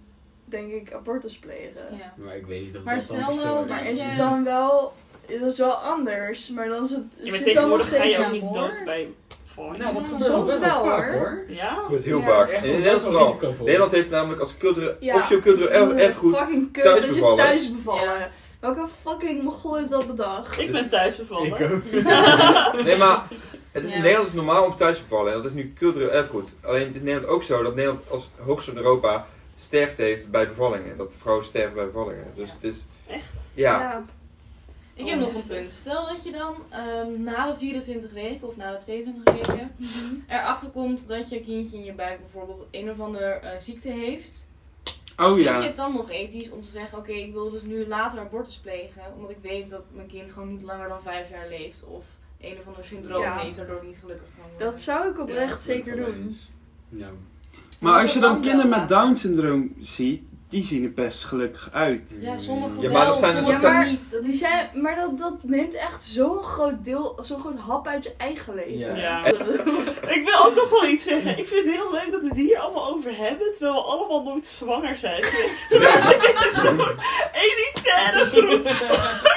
[SPEAKER 6] denk ik, abortus plegen.
[SPEAKER 8] Ja.
[SPEAKER 5] Maar ik weet niet of
[SPEAKER 8] Maar
[SPEAKER 5] dat dan
[SPEAKER 8] stel nou,
[SPEAKER 5] verschil
[SPEAKER 6] Maar
[SPEAKER 8] maar
[SPEAKER 6] is
[SPEAKER 8] Ja.
[SPEAKER 6] het dan wel... Dat is wel anders, maar dan is het,
[SPEAKER 4] Ja, maar
[SPEAKER 6] zit dus dan nog
[SPEAKER 4] tegenwoordig ga
[SPEAKER 6] steeds
[SPEAKER 4] je
[SPEAKER 6] een
[SPEAKER 4] ook niet
[SPEAKER 6] moord.
[SPEAKER 4] dood bij bevalling.
[SPEAKER 5] Nou, dat
[SPEAKER 8] Ja,
[SPEAKER 5] gebeurt
[SPEAKER 6] soms wel,
[SPEAKER 5] ook vaak,
[SPEAKER 6] hoor.
[SPEAKER 4] Ja?
[SPEAKER 1] Goed, heel
[SPEAKER 6] Ja.
[SPEAKER 1] vaak.
[SPEAKER 5] Echt
[SPEAKER 1] In
[SPEAKER 5] wel
[SPEAKER 1] Nederland
[SPEAKER 5] best Eh, wel
[SPEAKER 1] vooral.
[SPEAKER 5] risicovol.
[SPEAKER 1] Nederland heeft namelijk als cultureel,
[SPEAKER 6] Ja.
[SPEAKER 1] officieel cultureel erf- erfgoed.
[SPEAKER 6] Fucking kut
[SPEAKER 1] thuis
[SPEAKER 6] dat je
[SPEAKER 1] bevallen.
[SPEAKER 6] thuis bevallen. Welke fucking mogol heeft dat bedacht?
[SPEAKER 4] Ik ben thuis bevallen.
[SPEAKER 5] Ik ook.
[SPEAKER 1] Nee, maar het is
[SPEAKER 8] Ja.
[SPEAKER 1] in Nederland is normaal om thuis te bevallen. En dat is nu cultureel erfgoed. Alleen het is in Nederland ook zo dat Nederland als hoogste in Europa sterft heeft bij bevallingen. Dat vrouwen sterven bij bevallingen. Dus
[SPEAKER 8] Ja.
[SPEAKER 1] het is...
[SPEAKER 4] Echt?
[SPEAKER 1] Ja.
[SPEAKER 8] Ik heb nog een punt. Stel dat je dan ehm, na de 24 weken of na de 22
[SPEAKER 4] Oh,
[SPEAKER 8] weken erachter komt dat je kindje in je buik bijvoorbeeld een of andere ziekte heeft.
[SPEAKER 2] Oh
[SPEAKER 8] Vind je
[SPEAKER 2] ja.
[SPEAKER 8] het dan nog ethisch om te zeggen, oké, ik wil dus nu later abortus plegen. Omdat ik weet dat mijn kind gewoon niet langer dan vijf jaar leeft. Of een of ander syndroom
[SPEAKER 6] Ja.
[SPEAKER 8] heeft, daardoor ik niet gelukkig van word.
[SPEAKER 6] Dat zou ik oprecht
[SPEAKER 5] Ja,
[SPEAKER 6] zeker
[SPEAKER 5] dat
[SPEAKER 6] doen.
[SPEAKER 5] is Ja.
[SPEAKER 2] Maar als je dan
[SPEAKER 8] Dat kan
[SPEAKER 2] kinderen
[SPEAKER 8] wel,
[SPEAKER 2] met
[SPEAKER 8] ja.
[SPEAKER 2] Down syndroom ziet, die zien er best gelukkig uit.
[SPEAKER 8] Ja, sommige
[SPEAKER 1] Ja,
[SPEAKER 8] wel,
[SPEAKER 1] maar dat zijn-
[SPEAKER 8] sommige
[SPEAKER 1] dat zijn-
[SPEAKER 8] niet. Dat
[SPEAKER 6] Die
[SPEAKER 8] is...
[SPEAKER 6] zijn, maar dat, dat neemt echt zo'n groot deel, zo'n groot hap uit je eigen leven.
[SPEAKER 5] Ja.
[SPEAKER 4] Ja. Ik wil ook nog wel iets zeggen. Ik vind het heel leuk dat we het hier allemaal over hebben, terwijl we allemaal nooit zwanger zijn. Ze wij zitten in zo'n elitaire groep.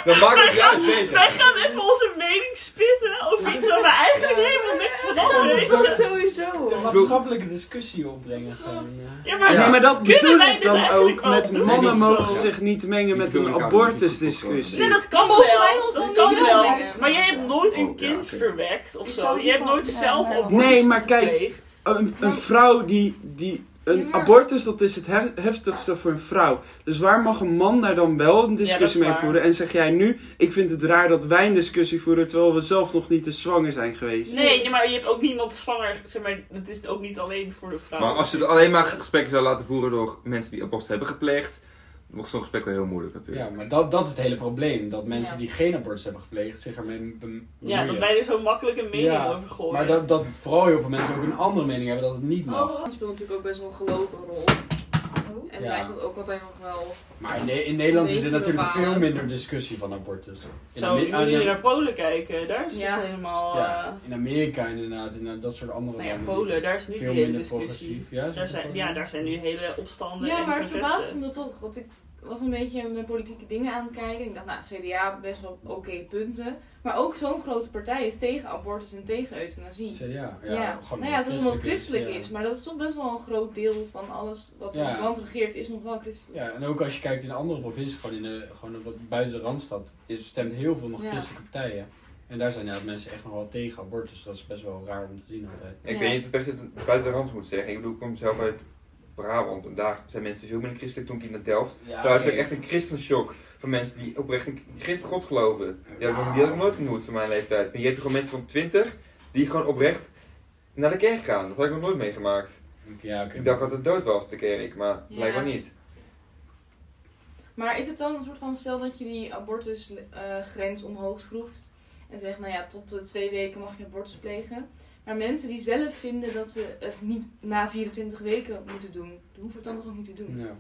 [SPEAKER 1] Dan maakt het eruit
[SPEAKER 4] Wij
[SPEAKER 1] beter.
[SPEAKER 4] gaan even onze mening spitten over iets waar we eigenlijk helemaal niks van
[SPEAKER 6] Dat is
[SPEAKER 4] afweten.
[SPEAKER 6] sowieso.
[SPEAKER 5] maatschappelijke discussie opbrengen gewoon.
[SPEAKER 4] Nou Ja, maar
[SPEAKER 2] Nee, maar dat
[SPEAKER 4] Kunnen
[SPEAKER 2] bedoel ik
[SPEAKER 4] wij dit
[SPEAKER 2] dan
[SPEAKER 4] eigenlijk
[SPEAKER 2] ook.
[SPEAKER 4] wel
[SPEAKER 2] Met
[SPEAKER 4] doen?
[SPEAKER 2] mannen
[SPEAKER 1] Nee, niet zo,
[SPEAKER 2] mogen
[SPEAKER 1] ja.
[SPEAKER 2] zich niet mengen met
[SPEAKER 1] Die doen
[SPEAKER 2] een
[SPEAKER 1] elkaar natuurlijk
[SPEAKER 2] abortusdiscussie.
[SPEAKER 4] Nee, dat kan
[SPEAKER 8] Mogen wij
[SPEAKER 4] wel.
[SPEAKER 8] ons
[SPEAKER 4] Dat
[SPEAKER 8] dan
[SPEAKER 4] kan
[SPEAKER 8] niet
[SPEAKER 4] wel.
[SPEAKER 8] afwegen?
[SPEAKER 4] Maar jij hebt nooit een
[SPEAKER 2] Oh, ja,
[SPEAKER 4] kind
[SPEAKER 2] oké.
[SPEAKER 4] verwekt of
[SPEAKER 6] Ik
[SPEAKER 4] zo.
[SPEAKER 6] zal
[SPEAKER 4] Je hebt
[SPEAKER 6] iemand-
[SPEAKER 4] nooit
[SPEAKER 6] ja,
[SPEAKER 4] zelf
[SPEAKER 6] maar-
[SPEAKER 4] abortus
[SPEAKER 2] Nee, maar kijk,
[SPEAKER 4] gepleegd.
[SPEAKER 2] Een, een vrouw die. die een
[SPEAKER 8] Ja, maar-
[SPEAKER 2] abortus, dat is het hef- heftigste voor een vrouw. Dus waar mag een man daar dan wel een
[SPEAKER 4] dat is
[SPEAKER 2] discussie mee
[SPEAKER 4] waar.
[SPEAKER 2] voeren? En zeg jij nu, ik vind het raar dat wij een discussie voeren terwijl we zelf nog niet eens zwanger zijn geweest.
[SPEAKER 4] Nee, nee, maar je hebt ook niemand zwanger. Zeg maar, dat is ook niet alleen voor de vrouw.
[SPEAKER 1] Maar als je het alleen maar gesprekken zou laten voeren door mensen die abortus hebben gepleegd, wordt zo'n gesprek wel heel moeilijk natuurlijk.
[SPEAKER 5] Ja, maar dat, dat is het hele probleem. Dat mensen
[SPEAKER 8] Ja.
[SPEAKER 5] die geen abortus hebben gepleegd zich ermee be- bemoeien.
[SPEAKER 4] Ja, dat wij er zo makkelijk een mening
[SPEAKER 5] Ja,
[SPEAKER 4] over gooien.
[SPEAKER 5] Maar dat, dat
[SPEAKER 4] Oh.
[SPEAKER 5] vooral heel veel mensen ook een andere mening hebben dat het niet mag.
[SPEAKER 8] Het speelt natuurlijk ook best wel een gelovige rol. En
[SPEAKER 6] En
[SPEAKER 5] Ja.
[SPEAKER 6] blijft dat ook altijd nog wel.
[SPEAKER 5] Maar in, Ne- in Nederland is er
[SPEAKER 6] Beetje
[SPEAKER 5] natuurlijk
[SPEAKER 6] bepalen.
[SPEAKER 5] veel minder discussie van abortus. In,
[SPEAKER 4] Zo,
[SPEAKER 5] Ame-
[SPEAKER 4] nu jullie
[SPEAKER 5] in,
[SPEAKER 4] naar Polen kijken, daar is
[SPEAKER 6] Ja.
[SPEAKER 4] het helemaal... eh,
[SPEAKER 5] ja, in Amerika inderdaad, en eh, dat soort andere
[SPEAKER 4] nou ja,
[SPEAKER 5] landen.
[SPEAKER 4] Polen, daar is nu
[SPEAKER 5] veel
[SPEAKER 4] die hele
[SPEAKER 5] minder
[SPEAKER 4] discussie.
[SPEAKER 5] progressief. Ja, is
[SPEAKER 4] Daar
[SPEAKER 5] dat
[SPEAKER 4] zijn,
[SPEAKER 5] wel-
[SPEAKER 4] ja, daar zijn nu hele opstanden
[SPEAKER 6] Ja,
[SPEAKER 4] en
[SPEAKER 6] maar het verbaasde
[SPEAKER 4] protesten.
[SPEAKER 6] me toch. Want ik was een beetje naar politieke dingen aan het kijken. Ik dacht, nou, CDA best wel oké punten. Maar ook zo'n grote partij is tegen abortus en tegen euthanasie.
[SPEAKER 5] CDA, ja,
[SPEAKER 6] Ja,
[SPEAKER 5] gewoon
[SPEAKER 6] nou ja, het is omdat het christelijk
[SPEAKER 5] ja.
[SPEAKER 6] is, maar dat is toch best wel een groot deel van alles wat in
[SPEAKER 5] Ja.
[SPEAKER 6] het land regeert, is nog wel christelijk.
[SPEAKER 5] Ja, en ook als je kijkt in de andere provincies, gewoon, in de, gewoon op- buiten de Randstad, is, stemt heel veel nog
[SPEAKER 6] Ja.
[SPEAKER 5] christelijke partijen. En daar zijn ja, mensen echt nog wel tegen abortus. Dat is best wel raar om te zien altijd.
[SPEAKER 1] Ik
[SPEAKER 6] Ja.
[SPEAKER 1] weet niet of ik per se het buiten de rand moet zeggen. Ik bedoel, ik kom zelf uit Brabant en daar zijn mensen veel minder christelijk toen ik hier naar Delft.
[SPEAKER 5] Ja,
[SPEAKER 1] daar is ook echt een christenshock van mensen die oprecht in christ God geloven. Die heb ik- die had ik nooit ontmoet van mijn leeftijd. Maar je hebt gewoon mensen van 20 die gewoon oprecht naar de kerk gaan. Dat had ik nog nooit meegemaakt.
[SPEAKER 5] Ja, oké.
[SPEAKER 1] Ik dacht dat het dood was, de kerk, maar
[SPEAKER 6] Ja.
[SPEAKER 1] blijkbaar niet.
[SPEAKER 6] Maar is het dan een soort van, stel dat je die abortusgrens omhoog schroeft en zegt, nou ja, tot eh, twee weken mag je abortus plegen. Maar mensen die zelf vinden dat ze het niet na 24 weken moeten doen, dan hoeven het dan toch ook niet te doen.
[SPEAKER 5] Ja.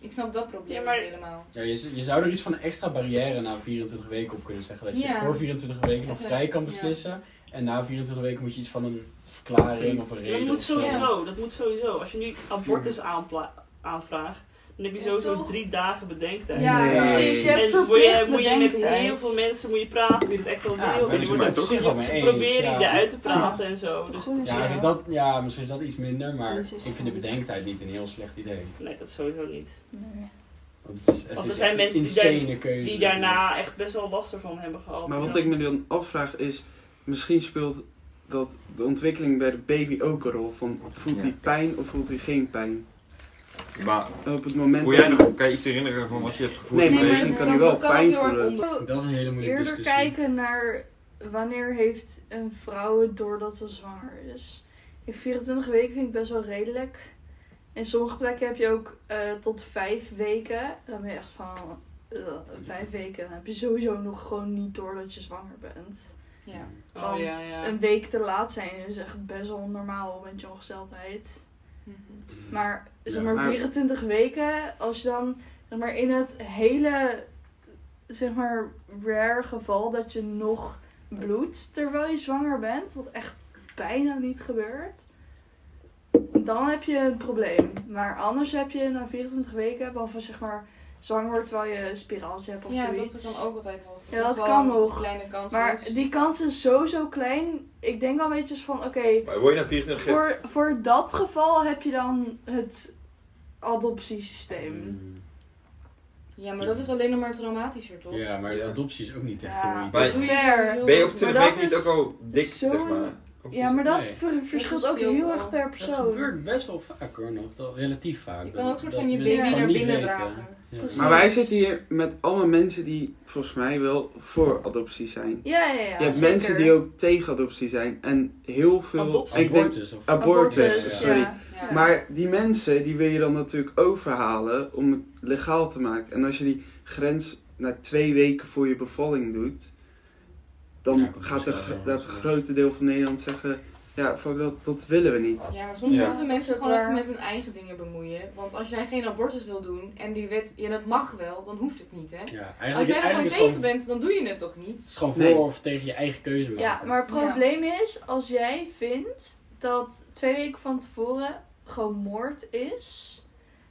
[SPEAKER 6] Ik snap dat probleem
[SPEAKER 4] Ja, maar-
[SPEAKER 6] niet helemaal.
[SPEAKER 5] Ja, je, z- je zou er iets van een extra barrière na 24 weken op kunnen zeggen. Dat je
[SPEAKER 6] Ja.
[SPEAKER 5] voor 24 weken nog
[SPEAKER 6] Even-
[SPEAKER 5] vrij kan
[SPEAKER 6] ja.
[SPEAKER 5] beslissen. En na 24 weken moet je iets van een verklaring of een reden.
[SPEAKER 4] Dat moet
[SPEAKER 5] of zo.
[SPEAKER 4] sowieso, dat moet sowieso. Als je nu abortus aanpla- aanvraagt, dan heb je
[SPEAKER 6] Ja,
[SPEAKER 4] sowieso
[SPEAKER 6] toch?
[SPEAKER 4] drie dagen bedenktijd.
[SPEAKER 6] Ja,
[SPEAKER 2] Nee.
[SPEAKER 6] precies. Je hebt
[SPEAKER 4] En moet je,
[SPEAKER 6] verplicht
[SPEAKER 4] moet je met
[SPEAKER 6] bedenktijd.
[SPEAKER 4] heel veel mensen moet je praten, die het echt wel
[SPEAKER 5] Ja,
[SPEAKER 4] willen.
[SPEAKER 5] maar
[SPEAKER 4] je
[SPEAKER 5] die
[SPEAKER 4] wordt
[SPEAKER 1] zijn
[SPEAKER 4] ook
[SPEAKER 1] het
[SPEAKER 5] toch
[SPEAKER 4] geprobeerd
[SPEAKER 5] wel mee eens,
[SPEAKER 4] proberen
[SPEAKER 5] ja.
[SPEAKER 4] die eruit te praten en zo. Dus,
[SPEAKER 3] Goed.
[SPEAKER 5] Ja, ik vind dat, ja, misschien is dat iets minder, maar
[SPEAKER 3] Dat
[SPEAKER 5] ik
[SPEAKER 3] is
[SPEAKER 5] vind de
[SPEAKER 3] wel-
[SPEAKER 5] bedenktijd niet een heel slecht idee.
[SPEAKER 4] nee, dat sowieso niet.
[SPEAKER 3] Nee.
[SPEAKER 5] Want het is, het
[SPEAKER 4] Want er
[SPEAKER 5] is
[SPEAKER 4] zijn
[SPEAKER 5] echt een
[SPEAKER 4] mensen die daar-
[SPEAKER 5] insane
[SPEAKER 4] Die
[SPEAKER 5] keuze. natuurlijk.
[SPEAKER 4] daarna echt best wel last ervan hebben gehad.
[SPEAKER 2] Maar wat ik me dan afvraag is, misschien speelt dat de ontwikkeling bij de baby ook een rol. Van voelt hij
[SPEAKER 1] Ja.
[SPEAKER 2] pijn of voelt hij geen pijn?
[SPEAKER 1] Maar
[SPEAKER 2] Op het moment
[SPEAKER 1] hoe
[SPEAKER 2] dat
[SPEAKER 1] jij
[SPEAKER 2] hij-
[SPEAKER 1] nog, kan je iets herinneren van wat je hebt gevoeld?
[SPEAKER 2] Nee, maar
[SPEAKER 1] Weet je?
[SPEAKER 2] misschien
[SPEAKER 6] dat
[SPEAKER 2] kan hij wel
[SPEAKER 6] dat
[SPEAKER 2] pijn
[SPEAKER 6] ook heel erg
[SPEAKER 2] voelen.
[SPEAKER 6] onder-
[SPEAKER 5] Dat is een hele moeilijke
[SPEAKER 3] Eerder
[SPEAKER 5] discussie.
[SPEAKER 3] kijken naar wanneer heeft een vrouw het doordat ze zwanger is. Ik 24 weken vind ik best wel redelijk. In sommige plekken heb je ook eh, tot vijf weken. Dan ben je echt van eh, vijf weken. Dan heb je sowieso nog gewoon niet door dat je zwanger bent.
[SPEAKER 6] Ja.
[SPEAKER 4] Oh
[SPEAKER 3] Want
[SPEAKER 4] ja, ja.
[SPEAKER 3] Een week te laat zijn is echt best wel normaal met je ongesteldheid.
[SPEAKER 6] Mhm.
[SPEAKER 3] Maar zeg
[SPEAKER 5] Ja.
[SPEAKER 3] maar
[SPEAKER 2] Maar-
[SPEAKER 3] 24 weken, als je dan zeg maar in het hele zeg maar rare geval dat je nog bloedt terwijl je zwanger bent, wat echt bijna niet gebeurt, dan heb je een probleem. Maar anders heb je na 24 weken, behalve zeg maar zwanger wordt terwijl je een spiraaltje hebt of
[SPEAKER 6] Ja,
[SPEAKER 3] zoiets.
[SPEAKER 6] dat is dan ook altijd wel.
[SPEAKER 3] Ja, dat
[SPEAKER 6] wel
[SPEAKER 3] kan
[SPEAKER 6] een
[SPEAKER 3] nog.
[SPEAKER 6] Kleine kans.
[SPEAKER 3] Maar
[SPEAKER 6] is.
[SPEAKER 3] die kans is sowieso klein. Ik denk al beetje van oké,
[SPEAKER 1] Maar word je nou na 24 jaar-
[SPEAKER 3] voor, voor dat geval heb je dan het adoptiesysteem.
[SPEAKER 5] Mm.
[SPEAKER 6] Ja, maar dat is alleen nog maar traumatischer, toch?
[SPEAKER 5] Ja, maar
[SPEAKER 1] Ja.
[SPEAKER 5] adoptie is ook niet echt
[SPEAKER 3] Ja.
[SPEAKER 5] heel iets.
[SPEAKER 1] Maar-
[SPEAKER 6] Dat doe je
[SPEAKER 3] Fair.
[SPEAKER 6] sowieso
[SPEAKER 1] Ben je op
[SPEAKER 6] niet.
[SPEAKER 1] 20
[SPEAKER 3] Maar dat
[SPEAKER 1] weken niet ook
[SPEAKER 3] is
[SPEAKER 1] al dik,
[SPEAKER 3] zo'n-
[SPEAKER 1] zeg maar? Of
[SPEAKER 3] Ja,
[SPEAKER 1] is-
[SPEAKER 3] maar dat
[SPEAKER 5] Nee.
[SPEAKER 3] ver- verschilt ook
[SPEAKER 6] verschilt
[SPEAKER 3] heel
[SPEAKER 6] wel.
[SPEAKER 3] erg per
[SPEAKER 5] Dat
[SPEAKER 3] persoon.
[SPEAKER 5] gebeurt best wel vaak hoor nog, toch? relatief vaak.
[SPEAKER 6] Je
[SPEAKER 5] dat-
[SPEAKER 6] kan ook een soort
[SPEAKER 5] dat
[SPEAKER 6] van je
[SPEAKER 5] mensen
[SPEAKER 6] baby
[SPEAKER 5] het
[SPEAKER 6] naar
[SPEAKER 5] gewoon
[SPEAKER 6] binnen
[SPEAKER 5] niet weten.
[SPEAKER 6] dragen.
[SPEAKER 5] Ja.
[SPEAKER 3] Precies.
[SPEAKER 2] Maar wij zitten hier met allemaal mensen die volgens mij wel voor adoptie zijn.
[SPEAKER 3] Ja, ja, ja.
[SPEAKER 2] je hebt
[SPEAKER 3] zeker.
[SPEAKER 2] mensen die ook tegen adoptie zijn. En heel veel...
[SPEAKER 4] Adoptie.
[SPEAKER 2] en Ik denk,
[SPEAKER 5] Abortus, of-
[SPEAKER 2] abortus,
[SPEAKER 5] Abortus,
[SPEAKER 2] sorry.
[SPEAKER 3] ja.
[SPEAKER 6] Ja.
[SPEAKER 2] Maar die mensen, die wil je dan natuurlijk overhalen om het legaal te maken. En als je die grens na twee weken voor je bevalling doet, dan
[SPEAKER 5] Ja, dat
[SPEAKER 2] gaat
[SPEAKER 5] is
[SPEAKER 2] de,
[SPEAKER 5] wel
[SPEAKER 2] gro-
[SPEAKER 5] heel
[SPEAKER 2] dat
[SPEAKER 5] erg.
[SPEAKER 2] grote deel van Nederland zeggen, ja, fuck dat, dat willen we niet.
[SPEAKER 6] Ja, maar soms
[SPEAKER 1] Ja.
[SPEAKER 6] moeten mensen
[SPEAKER 3] Dat is
[SPEAKER 6] gewoon
[SPEAKER 3] ook
[SPEAKER 6] even
[SPEAKER 3] waar.
[SPEAKER 6] met hun eigen dingen bemoeien. Want als jij geen abortus wil doen en die wet, ja dat mag wel, dan hoeft het niet hè.
[SPEAKER 5] Ja,
[SPEAKER 6] Als
[SPEAKER 5] eigenlijk,
[SPEAKER 6] jij er gewoon
[SPEAKER 5] eigenlijk is
[SPEAKER 6] tegen
[SPEAKER 5] het gewoon,
[SPEAKER 6] bent, dan doe je het toch niet?
[SPEAKER 5] het is gewoon voor
[SPEAKER 2] Nee.
[SPEAKER 5] of tegen je eigen keuze maken.
[SPEAKER 3] Ja, maar het probleem is, als jij vindt dat twee weken van tevoren gewoon moord is,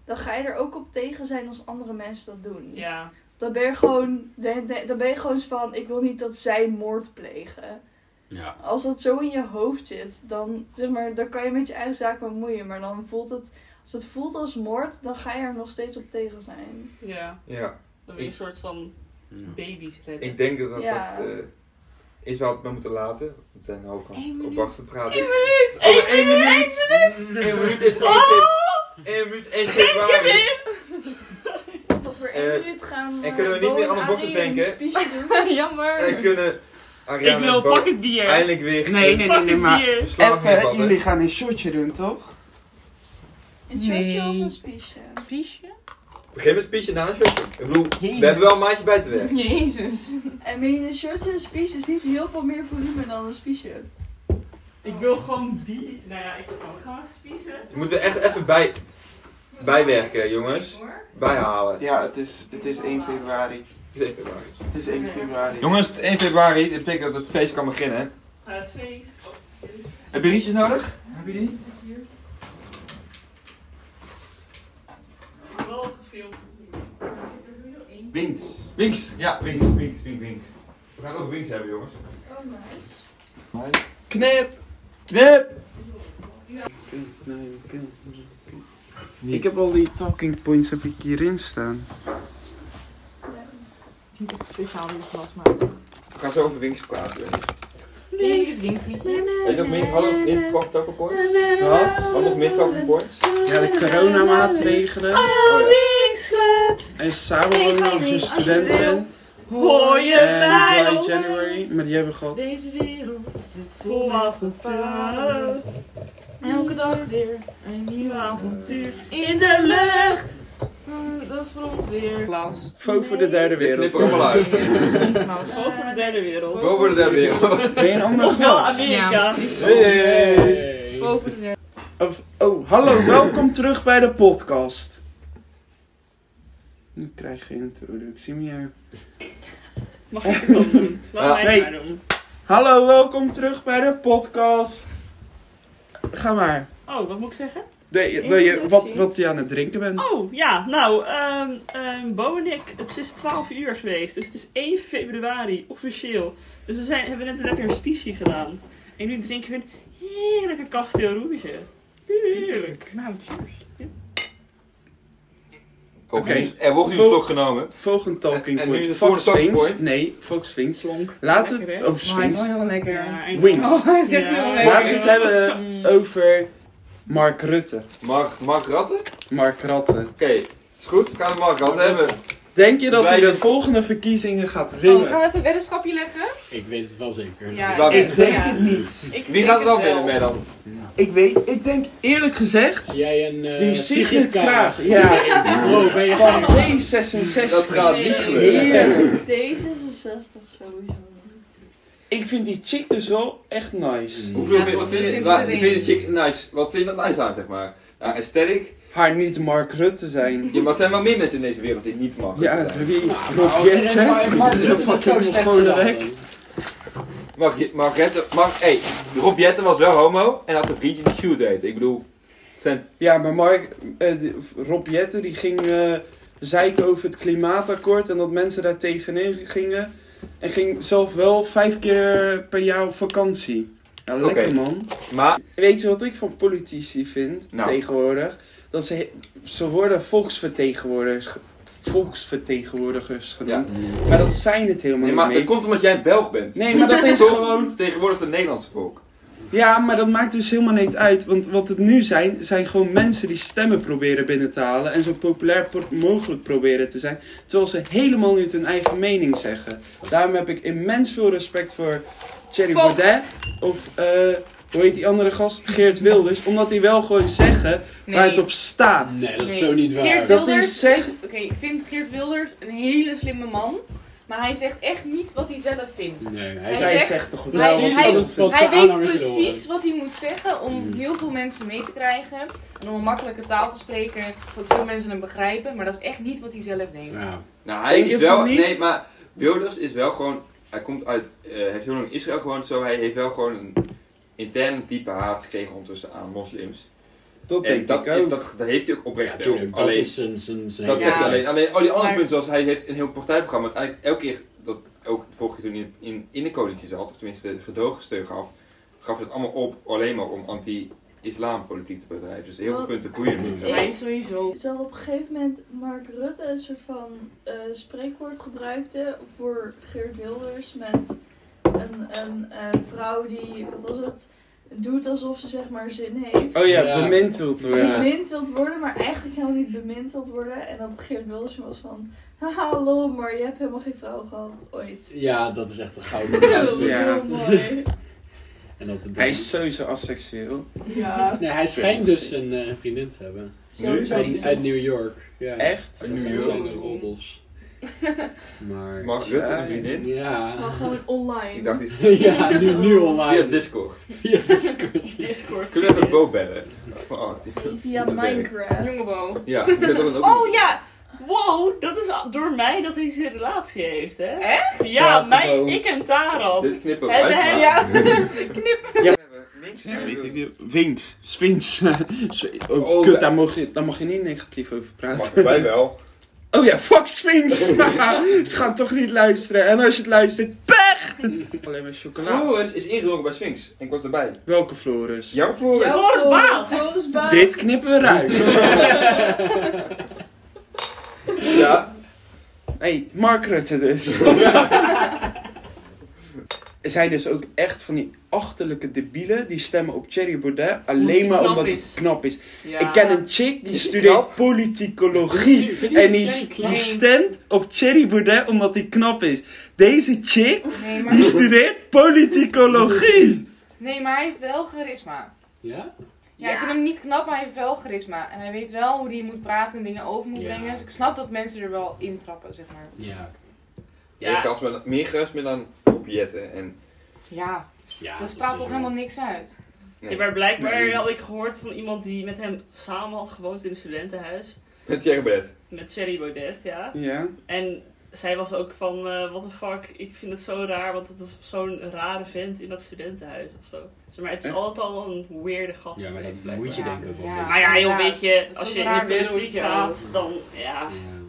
[SPEAKER 3] dan ga je er ook op tegen zijn als andere mensen dat doen.
[SPEAKER 4] Ja,
[SPEAKER 3] Dan ben je gewoon, dan dan ben je gewoon zo van, ik wil niet dat zij moord plegen.
[SPEAKER 5] Ja.
[SPEAKER 3] Als dat zo in je hoofd zit, dan, zeg maar, dan kan je met je eigen zaak bemoeien. Maar dan voelt het, als het voelt als moord, dan ga je er nog steeds op tegen zijn.
[SPEAKER 4] ja.
[SPEAKER 1] Ja,
[SPEAKER 4] Dan weer een soort van
[SPEAKER 5] Ja.
[SPEAKER 4] baby's redden.
[SPEAKER 1] ik denk dat dat,
[SPEAKER 3] Ja.
[SPEAKER 1] dat, eh, is waar we het mee moeten laten. Want We zijn nou
[SPEAKER 6] Eén
[SPEAKER 1] gewoon op
[SPEAKER 6] minuut.
[SPEAKER 1] Bas te praten.
[SPEAKER 6] minuut!
[SPEAKER 1] Oh, maar één minuut! Eén minuut is één tip. Eén minuut is één tip waar.
[SPEAKER 3] Over
[SPEAKER 1] één
[SPEAKER 3] één
[SPEAKER 1] Eh,
[SPEAKER 3] minuut gaan
[SPEAKER 1] en kunnen we niet Bo meer aan en de botters Arie een denken?
[SPEAKER 6] Jammer!
[SPEAKER 1] En kunnen
[SPEAKER 4] Ik
[SPEAKER 1] Ariane
[SPEAKER 4] wil
[SPEAKER 1] en Bo
[SPEAKER 4] pak het bier.
[SPEAKER 1] eindelijk weer
[SPEAKER 2] Nee, nee, nee, nee, maar
[SPEAKER 4] bier.
[SPEAKER 1] slaap
[SPEAKER 2] even, jullie
[SPEAKER 1] vatten.
[SPEAKER 2] gaan een shotje doen, toch?
[SPEAKER 3] Een shirtje
[SPEAKER 6] Nee.
[SPEAKER 3] of een spiesje?
[SPEAKER 6] Viesje?
[SPEAKER 1] Begin met speech en daarna shotje. Ik bedoel,
[SPEAKER 6] Jezus.
[SPEAKER 1] we hebben wel een maatje buiten weg.
[SPEAKER 6] Jezus.
[SPEAKER 3] I mean, een shirtje en een spiesje is niet heel veel meer volume dan een spiesje.
[SPEAKER 4] Ik wil gewoon die. Nou ja, ik kan gewoon spiezen.
[SPEAKER 1] Moeten we echt even bij... Bijwerken, jongens.
[SPEAKER 6] Hoor.
[SPEAKER 1] Bijhalen.
[SPEAKER 2] Ja, het is, het is 1 februari. Het is 1 februari.
[SPEAKER 1] Jongens, het 1 februari, dat betekent dat het feest kan beginnen.
[SPEAKER 4] Ah, het feest.
[SPEAKER 1] Heb je rietjes nodig? Heb je die?
[SPEAKER 4] Ik heb wel wat gefilmd.
[SPEAKER 1] Wings. Wings, ja, wings, wings, wings, wings. We gaan het over wings hebben, jongens.
[SPEAKER 6] Oh, nice.
[SPEAKER 1] Knip! Knip!
[SPEAKER 2] Nee, ik, ik heb al die talking points heb ik hierin staan.
[SPEAKER 9] Ziet er speciaal in het glas, maar...
[SPEAKER 1] We gaan zo over wings praten.
[SPEAKER 9] Ken je dit dingetje?
[SPEAKER 1] Heb je nog meer, hadden we nog meer verkocht takkenpoorts? Gehad? Hadden we nog meer takkenpoorts?
[SPEAKER 2] Ja, de coronamaatregelen.
[SPEAKER 1] Oh ja.
[SPEAKER 2] En samenwonen als je student bent.
[SPEAKER 4] Hoor je
[SPEAKER 2] En
[SPEAKER 4] bij
[SPEAKER 2] July
[SPEAKER 4] ons?
[SPEAKER 2] January. Maar die hebben we gehad.
[SPEAKER 9] Deze wereld zit vol
[SPEAKER 4] Vol
[SPEAKER 9] met gevaren.
[SPEAKER 4] avontuur.
[SPEAKER 9] Elke dag weer een nieuw avontuur.
[SPEAKER 4] In de lucht.
[SPEAKER 9] Mm, Dat is voor ons weer glas.
[SPEAKER 2] Faux voor de derde
[SPEAKER 1] Dit
[SPEAKER 2] wereld.
[SPEAKER 1] knippen we allemaal uit.
[SPEAKER 9] Glas.
[SPEAKER 4] Over de derde wereld.
[SPEAKER 1] We worden daar weer.
[SPEAKER 2] Ben je een ander
[SPEAKER 4] Ofwel
[SPEAKER 2] glas?
[SPEAKER 4] Amerika.
[SPEAKER 1] Hey!
[SPEAKER 9] Boven de derde.
[SPEAKER 2] Of, oh, hallo, welkom terug bij de podcast. Nu krijg je geen introductie meer.
[SPEAKER 4] Mag ik het dan doen?
[SPEAKER 1] Ja.
[SPEAKER 4] Laat mij
[SPEAKER 2] Nee.
[SPEAKER 4] het maar doen.
[SPEAKER 2] Hallo, welkom terug bij de podcast. Ga maar.
[SPEAKER 4] Oh, wat moet ik zeggen?
[SPEAKER 2] De, de, je, wat,
[SPEAKER 6] Introductie.
[SPEAKER 2] wat je aan het drinken bent.
[SPEAKER 4] Oh, ja. Nou, ehm ehm, Bo en ik, het is 12 uur geweest. Dus het is 1 februari, officieel. Dus we zijn, hebben net een lekker spiesje gedaan. En nu drinken we een heerlijke Castel Rouge. Heerlijk. Nou, cheers.
[SPEAKER 1] Oké.
[SPEAKER 2] Oké.
[SPEAKER 1] Er wordt nu een slok genomen.
[SPEAKER 2] Volgend talking
[SPEAKER 1] En- en
[SPEAKER 2] point.
[SPEAKER 1] nu de
[SPEAKER 2] Fuck
[SPEAKER 1] volgende talking
[SPEAKER 2] Sphinx.
[SPEAKER 1] point.
[SPEAKER 2] Nee, fuck Sphinx.
[SPEAKER 5] Slonk.
[SPEAKER 2] Laten we
[SPEAKER 4] Lekker,
[SPEAKER 2] het
[SPEAKER 4] hè?
[SPEAKER 2] over
[SPEAKER 9] Maar hij is
[SPEAKER 2] Sphinx.
[SPEAKER 9] wel heel lekker.
[SPEAKER 4] Ja, en-
[SPEAKER 2] Wings.
[SPEAKER 9] Oh, hij is echt heel lekker.
[SPEAKER 2] Laten we het hebben eh,
[SPEAKER 9] Mm.
[SPEAKER 2] over Mark Rutte.
[SPEAKER 1] Mark, Mark Ratten? Oké,
[SPEAKER 2] Mark Rutte.
[SPEAKER 1] is goed. We gaan we Mark Ratten hebben.
[SPEAKER 2] Denk je dat hij
[SPEAKER 1] Wij-
[SPEAKER 2] de volgende verkiezingen gaat
[SPEAKER 6] Oh,
[SPEAKER 2] winnen?
[SPEAKER 6] gaan we even een weddenschapje leggen?
[SPEAKER 5] Ik weet het wel zeker.
[SPEAKER 6] Ja,
[SPEAKER 1] Waar-
[SPEAKER 2] Ik denk
[SPEAKER 6] Ja.
[SPEAKER 2] het niet.
[SPEAKER 6] Ik
[SPEAKER 1] Wie
[SPEAKER 6] denk
[SPEAKER 1] gaat het dan
[SPEAKER 6] wel.
[SPEAKER 1] winnen, mij dan?
[SPEAKER 2] Ik weet, ik denk eerlijk gezegd,
[SPEAKER 5] Zie jij een eh,
[SPEAKER 2] die Sigrid Kraag. Ja,
[SPEAKER 5] Kraag? Wow, ben je
[SPEAKER 2] van
[SPEAKER 5] gek?
[SPEAKER 2] D66.
[SPEAKER 1] Dat gaat niet gebeuren.
[SPEAKER 2] Heerlijk.
[SPEAKER 3] D66 sowieso niet.
[SPEAKER 2] Ik vind die chick dus wel echt nice.
[SPEAKER 1] Hoeveel
[SPEAKER 6] Ja,
[SPEAKER 1] vind, wat vind,
[SPEAKER 6] goed, we
[SPEAKER 1] je,
[SPEAKER 6] zitten
[SPEAKER 1] waar-
[SPEAKER 6] erin.
[SPEAKER 1] vind je chick nice? Wat vind je dat nice aan, zeg maar? Nou, aesthetic.
[SPEAKER 2] Haar niet Mark Rutte zijn.
[SPEAKER 1] Ja, maar er zijn wel meer mensen in deze wereld die het niet mag.
[SPEAKER 2] Ja, wie?
[SPEAKER 1] Nou,
[SPEAKER 2] Rob
[SPEAKER 5] Als je net
[SPEAKER 2] Jetten.
[SPEAKER 5] maar- Mark Rutte
[SPEAKER 2] Dat
[SPEAKER 5] dat zo
[SPEAKER 2] was
[SPEAKER 5] slecht
[SPEAKER 2] gewoon de
[SPEAKER 5] gedaan,
[SPEAKER 2] rek.
[SPEAKER 5] dan.
[SPEAKER 1] Mag, je- mag, Jette- mag, hey, Rob Jetten was wel homo en had een vriendje die shoot heet. Ik bedoel, het zijn,
[SPEAKER 2] Ja, maar Mark, eh, Rob Jetten die ging eh, zeiken over het klimaatakkoord en dat mensen daar tegenin gingen. En ging zelf wel vijf keer per jaar op vakantie. Nou,
[SPEAKER 1] Oké.
[SPEAKER 2] lekker man.
[SPEAKER 1] maar
[SPEAKER 2] Weet je wat ik van politici vind
[SPEAKER 1] Nou.
[SPEAKER 2] tegenwoordig? Dat ze, ze worden volksvertegenwoordigers, ge- volksvertegenwoordigers genoemd. Maar dat zijn het helemaal
[SPEAKER 1] nee, maar dat
[SPEAKER 2] niet meer.
[SPEAKER 1] komt omdat jij een Belg bent.
[SPEAKER 2] Nee, maar dat is
[SPEAKER 1] Toch
[SPEAKER 2] gewoon...
[SPEAKER 1] Tegenwoordig het Nederlandse volk.
[SPEAKER 2] Ja, maar dat maakt dus helemaal niet uit. Want wat het nu zijn, zijn gewoon mensen die stemmen proberen binnen te halen. En zo populair pro- mogelijk proberen te zijn. Terwijl ze helemaal niet hun eigen mening zeggen. Daarom heb ik immens veel respect voor Thierry
[SPEAKER 6] Fuck.
[SPEAKER 2] Baudet. Of, eh, hoe heet die andere gast? Geert Wilders. Omdat die wel gewoon zeggen
[SPEAKER 6] Nee.
[SPEAKER 2] waar het op staat.
[SPEAKER 5] Nee, dat is
[SPEAKER 6] Nee.
[SPEAKER 5] zo niet
[SPEAKER 6] Geert
[SPEAKER 5] waar.
[SPEAKER 2] Dat hij
[SPEAKER 6] Wilders
[SPEAKER 2] zegt-
[SPEAKER 6] is- Oké, ik vind Geert Wilders een hele slimme man. Maar hij zegt echt niet wat hij zelf vindt.
[SPEAKER 5] Nee, hij
[SPEAKER 6] Hij
[SPEAKER 5] zei
[SPEAKER 2] Zij
[SPEAKER 6] zegt-
[SPEAKER 2] zegt toch wel.
[SPEAKER 5] precies
[SPEAKER 6] hij-
[SPEAKER 5] wat
[SPEAKER 6] hij-
[SPEAKER 5] het- wat
[SPEAKER 6] Hij
[SPEAKER 5] zijn
[SPEAKER 6] weet
[SPEAKER 5] aanhangers willen
[SPEAKER 6] precies wat hij moet zeggen om
[SPEAKER 5] Mm.
[SPEAKER 6] heel veel mensen mee te krijgen. En om een makkelijke taal te spreken, zodat veel mensen hem begrijpen. Maar dat is echt niet wat hij zelf denkt.
[SPEAKER 5] horen. Ja.
[SPEAKER 1] Nou, hij
[SPEAKER 2] Denk je
[SPEAKER 1] is wel.
[SPEAKER 2] van niet?
[SPEAKER 1] Nee, maar Wilders is wel gewoon. Hij komt uit. eh, Hij heeft heel lang in Israël gewoond, zo. Hij heeft wel gewoon een interne diepe haat gekregen ondertussen aan moslims.
[SPEAKER 2] Eh, Dat
[SPEAKER 1] En
[SPEAKER 2] denk
[SPEAKER 1] dat,
[SPEAKER 2] ik
[SPEAKER 1] is,
[SPEAKER 2] ook.
[SPEAKER 1] dat, dat heeft hij ook oprecht.
[SPEAKER 5] Ja, tuurlijk. Dat
[SPEAKER 1] alleen,
[SPEAKER 5] is zijn... zijn, zijn
[SPEAKER 1] dat
[SPEAKER 6] ja.
[SPEAKER 1] zegt hij alleen. Alleen, oh, die andere
[SPEAKER 6] Maar-
[SPEAKER 1] punten, zoals hij heeft een heel partijprogramma. Uiteindelijk, elke keer dat ook de vorige keer toen hij in, in de coalitie zat, of tenminste de gedoogsteun gaf, gaf hij het allemaal op alleen maar om anti-islampolitiek te bedrijven. Dus heel veel
[SPEAKER 3] Wel-
[SPEAKER 1] punten boeien hem niet. zo.
[SPEAKER 6] Maar hij is sowieso...
[SPEAKER 3] Ze hadden op een gegeven moment Mark Rutte een soort van eh, spreekwoord gebruikte voor Geert Wilders met een, een eh, vrouw die, wat was het, doet alsof ze zeg maar zin heeft.
[SPEAKER 2] Oh ja,
[SPEAKER 5] Ja.
[SPEAKER 2] bemind wilt worden.
[SPEAKER 3] Bemind wilt worden, maar eigenlijk helemaal niet bemind wilt worden. En dat Geert Wilders was van, haha lol, maar je hebt helemaal geen vrouw gehad, ooit.
[SPEAKER 5] Ja, dat is echt een gouden
[SPEAKER 3] dat was
[SPEAKER 2] Ja.
[SPEAKER 3] heel mooi.
[SPEAKER 5] En dat
[SPEAKER 2] Hij is sowieso asexueel.
[SPEAKER 3] Ja.
[SPEAKER 5] Nee, hij schijnt dus een eh, vriendin te hebben.
[SPEAKER 1] Nu?
[SPEAKER 5] Uit, uit New York. Ja.
[SPEAKER 2] Echt?
[SPEAKER 5] Dat zijn
[SPEAKER 1] New York.
[SPEAKER 5] zijn de roddels. Maar...
[SPEAKER 1] Mag Rutte een vriendin?
[SPEAKER 5] Ja.
[SPEAKER 6] Maar
[SPEAKER 3] Oh.
[SPEAKER 6] gewoon online.
[SPEAKER 1] Ik dacht iets.
[SPEAKER 5] ja, nu, nu
[SPEAKER 1] Via
[SPEAKER 5] online.
[SPEAKER 1] Discord.
[SPEAKER 5] Ja, Discord.
[SPEAKER 4] Discord.
[SPEAKER 1] Kunnen we even Bo bellen? Van, oh, die-
[SPEAKER 3] Niet via
[SPEAKER 1] dat werkt.
[SPEAKER 3] Minecraft.
[SPEAKER 6] Jongebo.
[SPEAKER 1] Ja, ik weet dat het ook
[SPEAKER 4] Oh
[SPEAKER 1] niet-
[SPEAKER 4] ja! Wow, dat is door mij dat hij zijn relatie heeft, hè?
[SPEAKER 6] Echt?
[SPEAKER 4] Ja,
[SPEAKER 5] Ja,
[SPEAKER 4] mij,
[SPEAKER 5] gewoon.
[SPEAKER 4] ik en Taran.
[SPEAKER 1] Dit knippen we
[SPEAKER 4] Hey,
[SPEAKER 1] uit.
[SPEAKER 4] we
[SPEAKER 1] maar-
[SPEAKER 4] hebben-
[SPEAKER 6] Ja.
[SPEAKER 1] We hebben niks
[SPEAKER 2] Ja,
[SPEAKER 1] meer
[SPEAKER 2] weet ik
[SPEAKER 1] doen.
[SPEAKER 2] niet. Winks, Sphinx. Sw- oh,
[SPEAKER 1] Oh,
[SPEAKER 2] kut,
[SPEAKER 1] ja.
[SPEAKER 2] daar mag, je, daar mag je niet negatief over
[SPEAKER 1] Mag
[SPEAKER 2] praten.
[SPEAKER 1] wij wel.
[SPEAKER 2] Oh ja, fuck Sphinx! Ze gaan toch niet luisteren. En als je het luistert, pech! Alleen maar chocola.
[SPEAKER 1] Floris is ingedoken bij Sphinx. En ik was erbij.
[SPEAKER 2] Welke Floris?
[SPEAKER 1] Jouw Floris?
[SPEAKER 4] Floris Baat.
[SPEAKER 6] Floris Baat.
[SPEAKER 2] Dit knippen we eruit.
[SPEAKER 1] Ja.
[SPEAKER 2] hey, Mark Rutte dus. Er zijn dus ook echt van die achterlijke debielen die stemmen op Thierry Baudet
[SPEAKER 4] Omdat
[SPEAKER 2] alleen
[SPEAKER 4] hij
[SPEAKER 2] maar
[SPEAKER 4] knap
[SPEAKER 2] omdat hij
[SPEAKER 4] is.
[SPEAKER 2] knap is.
[SPEAKER 4] Ja.
[SPEAKER 2] Ik ken een chick die studeert politicologie. En die, die stemt op Thierry Baudet omdat hij knap is. Deze chick,
[SPEAKER 6] Nee,
[SPEAKER 2] die
[SPEAKER 6] maar,
[SPEAKER 2] studeert politicologie.
[SPEAKER 6] nee, maar hij heeft wel charisma.
[SPEAKER 5] Ja?
[SPEAKER 6] Ja, ik vind hem niet knap, maar hij heeft wel charisma. En hij weet wel hoe hij moet praten en dingen over moet
[SPEAKER 5] Ja.
[SPEAKER 6] brengen. Dus ik snap dat mensen er wel intrappen, zeg maar.
[SPEAKER 5] Ja.
[SPEAKER 1] Meer
[SPEAKER 4] Ja,
[SPEAKER 1] gas met, meer gas met dan objetten. En,
[SPEAKER 6] Ja,
[SPEAKER 5] ja
[SPEAKER 6] dat straalt toch helemaal niks uit?
[SPEAKER 1] nee.
[SPEAKER 4] Ja, maar blijkbaar
[SPEAKER 2] Nee.
[SPEAKER 4] had ik gehoord van iemand die met hem samen had gewoond in een studentenhuis.
[SPEAKER 1] Het Tjerrebed.
[SPEAKER 4] Met Thierry Baudet, ja.
[SPEAKER 2] Ja.
[SPEAKER 4] En zij was ook van, eh what the fuck, ik vind het zo raar, want het was zo'n rare vent in dat studentenhuis of zo. Zeg maar het is
[SPEAKER 2] Echt?
[SPEAKER 4] altijd al een weirde gast.
[SPEAKER 5] Ja, maar
[SPEAKER 4] geweest,
[SPEAKER 5] dat moet je
[SPEAKER 4] blijkbaar.
[SPEAKER 6] Ja,
[SPEAKER 5] denken ook wel.
[SPEAKER 6] ja.
[SPEAKER 5] een
[SPEAKER 4] Maar Nou ja, joh,
[SPEAKER 6] Inderdaad.
[SPEAKER 4] weet je,
[SPEAKER 6] Dat is
[SPEAKER 4] als
[SPEAKER 6] zo'n
[SPEAKER 4] je in
[SPEAKER 6] raar
[SPEAKER 4] de politiek
[SPEAKER 6] wereldje
[SPEAKER 4] gaat, dan ja.
[SPEAKER 5] beetje. Ja.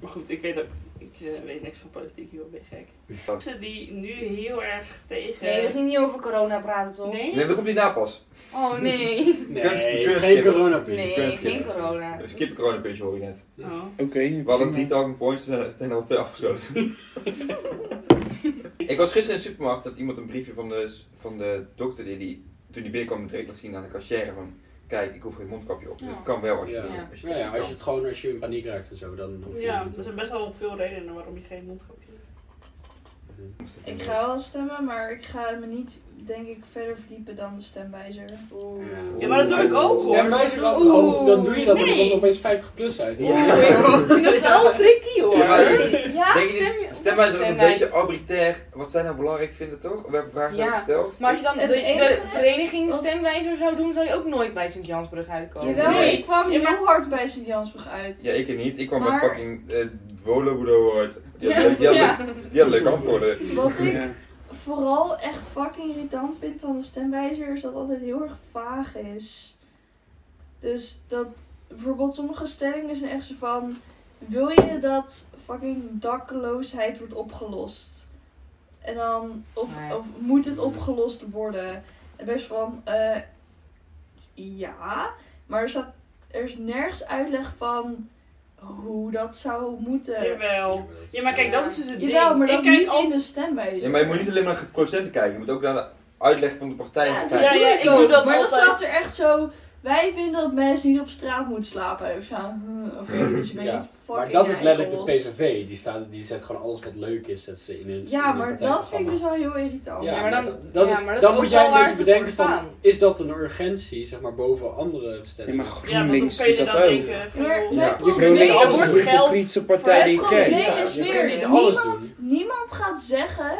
[SPEAKER 4] Maar goed, ik weet ook, ik eh, weet niks van politiek, joh, ben je gek. Mensen die nu heel erg tegen...
[SPEAKER 9] Nee, we
[SPEAKER 5] Eh,
[SPEAKER 9] gingen niet over corona praten, toch?
[SPEAKER 4] Nee?
[SPEAKER 1] Nee, dat komt niet na pas.
[SPEAKER 9] Oh nee.
[SPEAKER 1] kunt- je
[SPEAKER 5] Nee,
[SPEAKER 1] kunt
[SPEAKER 5] geen
[SPEAKER 1] skippen.
[SPEAKER 5] coronapil.
[SPEAKER 9] Nee, geen corona.
[SPEAKER 1] We skippen corona pitch hoor je net.
[SPEAKER 4] Oh.
[SPEAKER 2] Oké.
[SPEAKER 1] We hadden drie talking points en er zijn er al twee afgesloten. ik was gisteren in de supermarkt dat iemand een briefje van de, van de dokter die, die toen die binnenkwam direct laat zien aan de cashier van kijk ik hoef geen mondkapje op. Dus het kan wel als je
[SPEAKER 5] Ja.
[SPEAKER 1] wil, als je
[SPEAKER 5] Ja, ja, als je
[SPEAKER 1] kan.
[SPEAKER 5] het gewoon als je in paniek raakt en zo, dan hoef je
[SPEAKER 4] Ja,
[SPEAKER 5] niet
[SPEAKER 4] er zijn
[SPEAKER 5] op-
[SPEAKER 4] best wel veel redenen waarom je geen mondkapje hebt.
[SPEAKER 3] Ik ga wel stemmen, maar ik ga me niet, denk ik, verder verdiepen dan de stemwijzer.
[SPEAKER 4] Ja, maar dat doe ik ook hoor.
[SPEAKER 5] Stemwijzer ook.
[SPEAKER 4] Oeh.
[SPEAKER 5] Oh, dan doe je dat en dan
[SPEAKER 4] Nee.
[SPEAKER 5] komt er opeens 50 plus uit.
[SPEAKER 9] Ik vind het wel tricky hoor.
[SPEAKER 1] Ja, maar
[SPEAKER 9] Ja,
[SPEAKER 1] Denk je
[SPEAKER 9] stem
[SPEAKER 1] niet,
[SPEAKER 9] je-
[SPEAKER 1] stem mij zo een
[SPEAKER 9] stemwijzer.
[SPEAKER 1] beetje arbitrair wat zij nou belangrijk vinden toch? Welke vragen zijn
[SPEAKER 9] Ja.
[SPEAKER 1] gesteld?
[SPEAKER 6] Maar als je dan de,
[SPEAKER 3] Het
[SPEAKER 6] de
[SPEAKER 3] enige-
[SPEAKER 5] Oh.
[SPEAKER 6] vereniging stemwijzer zou doen, zou je ook nooit bij Sint-Jansbrug uitkomen.
[SPEAKER 3] Jawel,
[SPEAKER 1] Nee.
[SPEAKER 3] ik kwam
[SPEAKER 4] Ja,
[SPEAKER 3] heel
[SPEAKER 4] maar-
[SPEAKER 3] hard bij Sint-Jansbrug uit.
[SPEAKER 1] Ja, ik er niet. Ik kwam
[SPEAKER 3] Maar-
[SPEAKER 1] bij fucking eh Wolobudo uit. Die had, die had, die had leuk antwoorden.
[SPEAKER 3] Wat ik
[SPEAKER 2] Ja.
[SPEAKER 3] vooral echt fucking irritant vind van de stemwijzer is dat het altijd heel erg vaag is. Dus dat bijvoorbeeld sommige stellingen zijn echt zo van: wil je dat fucking dakloosheid wordt opgelost? En dan, of,
[SPEAKER 6] Nee.
[SPEAKER 3] of moet het opgelost worden? En best van, eh, ja, maar er, staat, er is nergens uitleg van hoe dat zou moeten.
[SPEAKER 4] Jawel. Ja, maar kijk, dat is dus het ding.
[SPEAKER 3] Jawel, maar dat
[SPEAKER 4] ik kijk
[SPEAKER 3] niet
[SPEAKER 4] al...
[SPEAKER 3] in de stemwijzer.
[SPEAKER 1] Ja, maar je moet niet alleen maar naar de procenten kijken, je moet ook naar de uitleg van de partijen
[SPEAKER 3] Ja,
[SPEAKER 1] kijken.
[SPEAKER 4] ja, ja, ik
[SPEAKER 3] ook.
[SPEAKER 4] doe dat
[SPEAKER 3] maar dan
[SPEAKER 4] altijd.
[SPEAKER 3] staat er echt zo... Wij vinden dat mensen niet op straat moeten slapen. Ik zou, huh, Oké, dus je bent
[SPEAKER 5] Ja,
[SPEAKER 3] niet
[SPEAKER 5] Maar
[SPEAKER 3] fucking
[SPEAKER 5] dat is letterlijk de
[SPEAKER 3] eindeloos.
[SPEAKER 5] PVV. Die, staat, die zet gewoon alles wat leuk is, zet ze in hun in
[SPEAKER 3] Ja,
[SPEAKER 5] hun
[SPEAKER 3] maar dat vind ik
[SPEAKER 5] partijprogramma.
[SPEAKER 3] dus wel heel irritant.
[SPEAKER 5] Ja,
[SPEAKER 6] Ja,
[SPEAKER 5] maar
[SPEAKER 6] maar
[SPEAKER 5] dan,
[SPEAKER 6] dan-
[SPEAKER 5] dat
[SPEAKER 6] ja,
[SPEAKER 5] is,
[SPEAKER 6] maar dat
[SPEAKER 5] dan
[SPEAKER 6] is
[SPEAKER 5] moet
[SPEAKER 6] ook
[SPEAKER 5] jij
[SPEAKER 6] wel
[SPEAKER 5] een
[SPEAKER 6] waar
[SPEAKER 5] beetje
[SPEAKER 6] ze
[SPEAKER 5] bedenken
[SPEAKER 6] voor
[SPEAKER 5] van,
[SPEAKER 6] staan.
[SPEAKER 5] is dat een urgentie, zeg maar, boven andere
[SPEAKER 2] Ja, maar
[SPEAKER 5] stellingen?
[SPEAKER 4] Ja, want
[SPEAKER 2] GroenLinks
[SPEAKER 4] dan kun
[SPEAKER 2] doet
[SPEAKER 4] je
[SPEAKER 2] dat
[SPEAKER 4] dan
[SPEAKER 2] ook.
[SPEAKER 4] denken van,
[SPEAKER 3] Maar
[SPEAKER 4] joh,
[SPEAKER 1] Ja.
[SPEAKER 3] mijn
[SPEAKER 2] Je
[SPEAKER 3] probleem
[SPEAKER 4] Nee,
[SPEAKER 2] GroenLinks
[SPEAKER 4] er
[SPEAKER 2] is
[SPEAKER 4] wordt
[SPEAKER 2] de
[SPEAKER 4] geld
[SPEAKER 2] hypocrietse partij die ik
[SPEAKER 3] het
[SPEAKER 2] ken.
[SPEAKER 3] probleem
[SPEAKER 5] Ja,
[SPEAKER 3] is
[SPEAKER 5] je
[SPEAKER 3] weer,
[SPEAKER 5] kunt niet
[SPEAKER 3] niemand,
[SPEAKER 5] alles doen.
[SPEAKER 3] niemand gaat zeggen...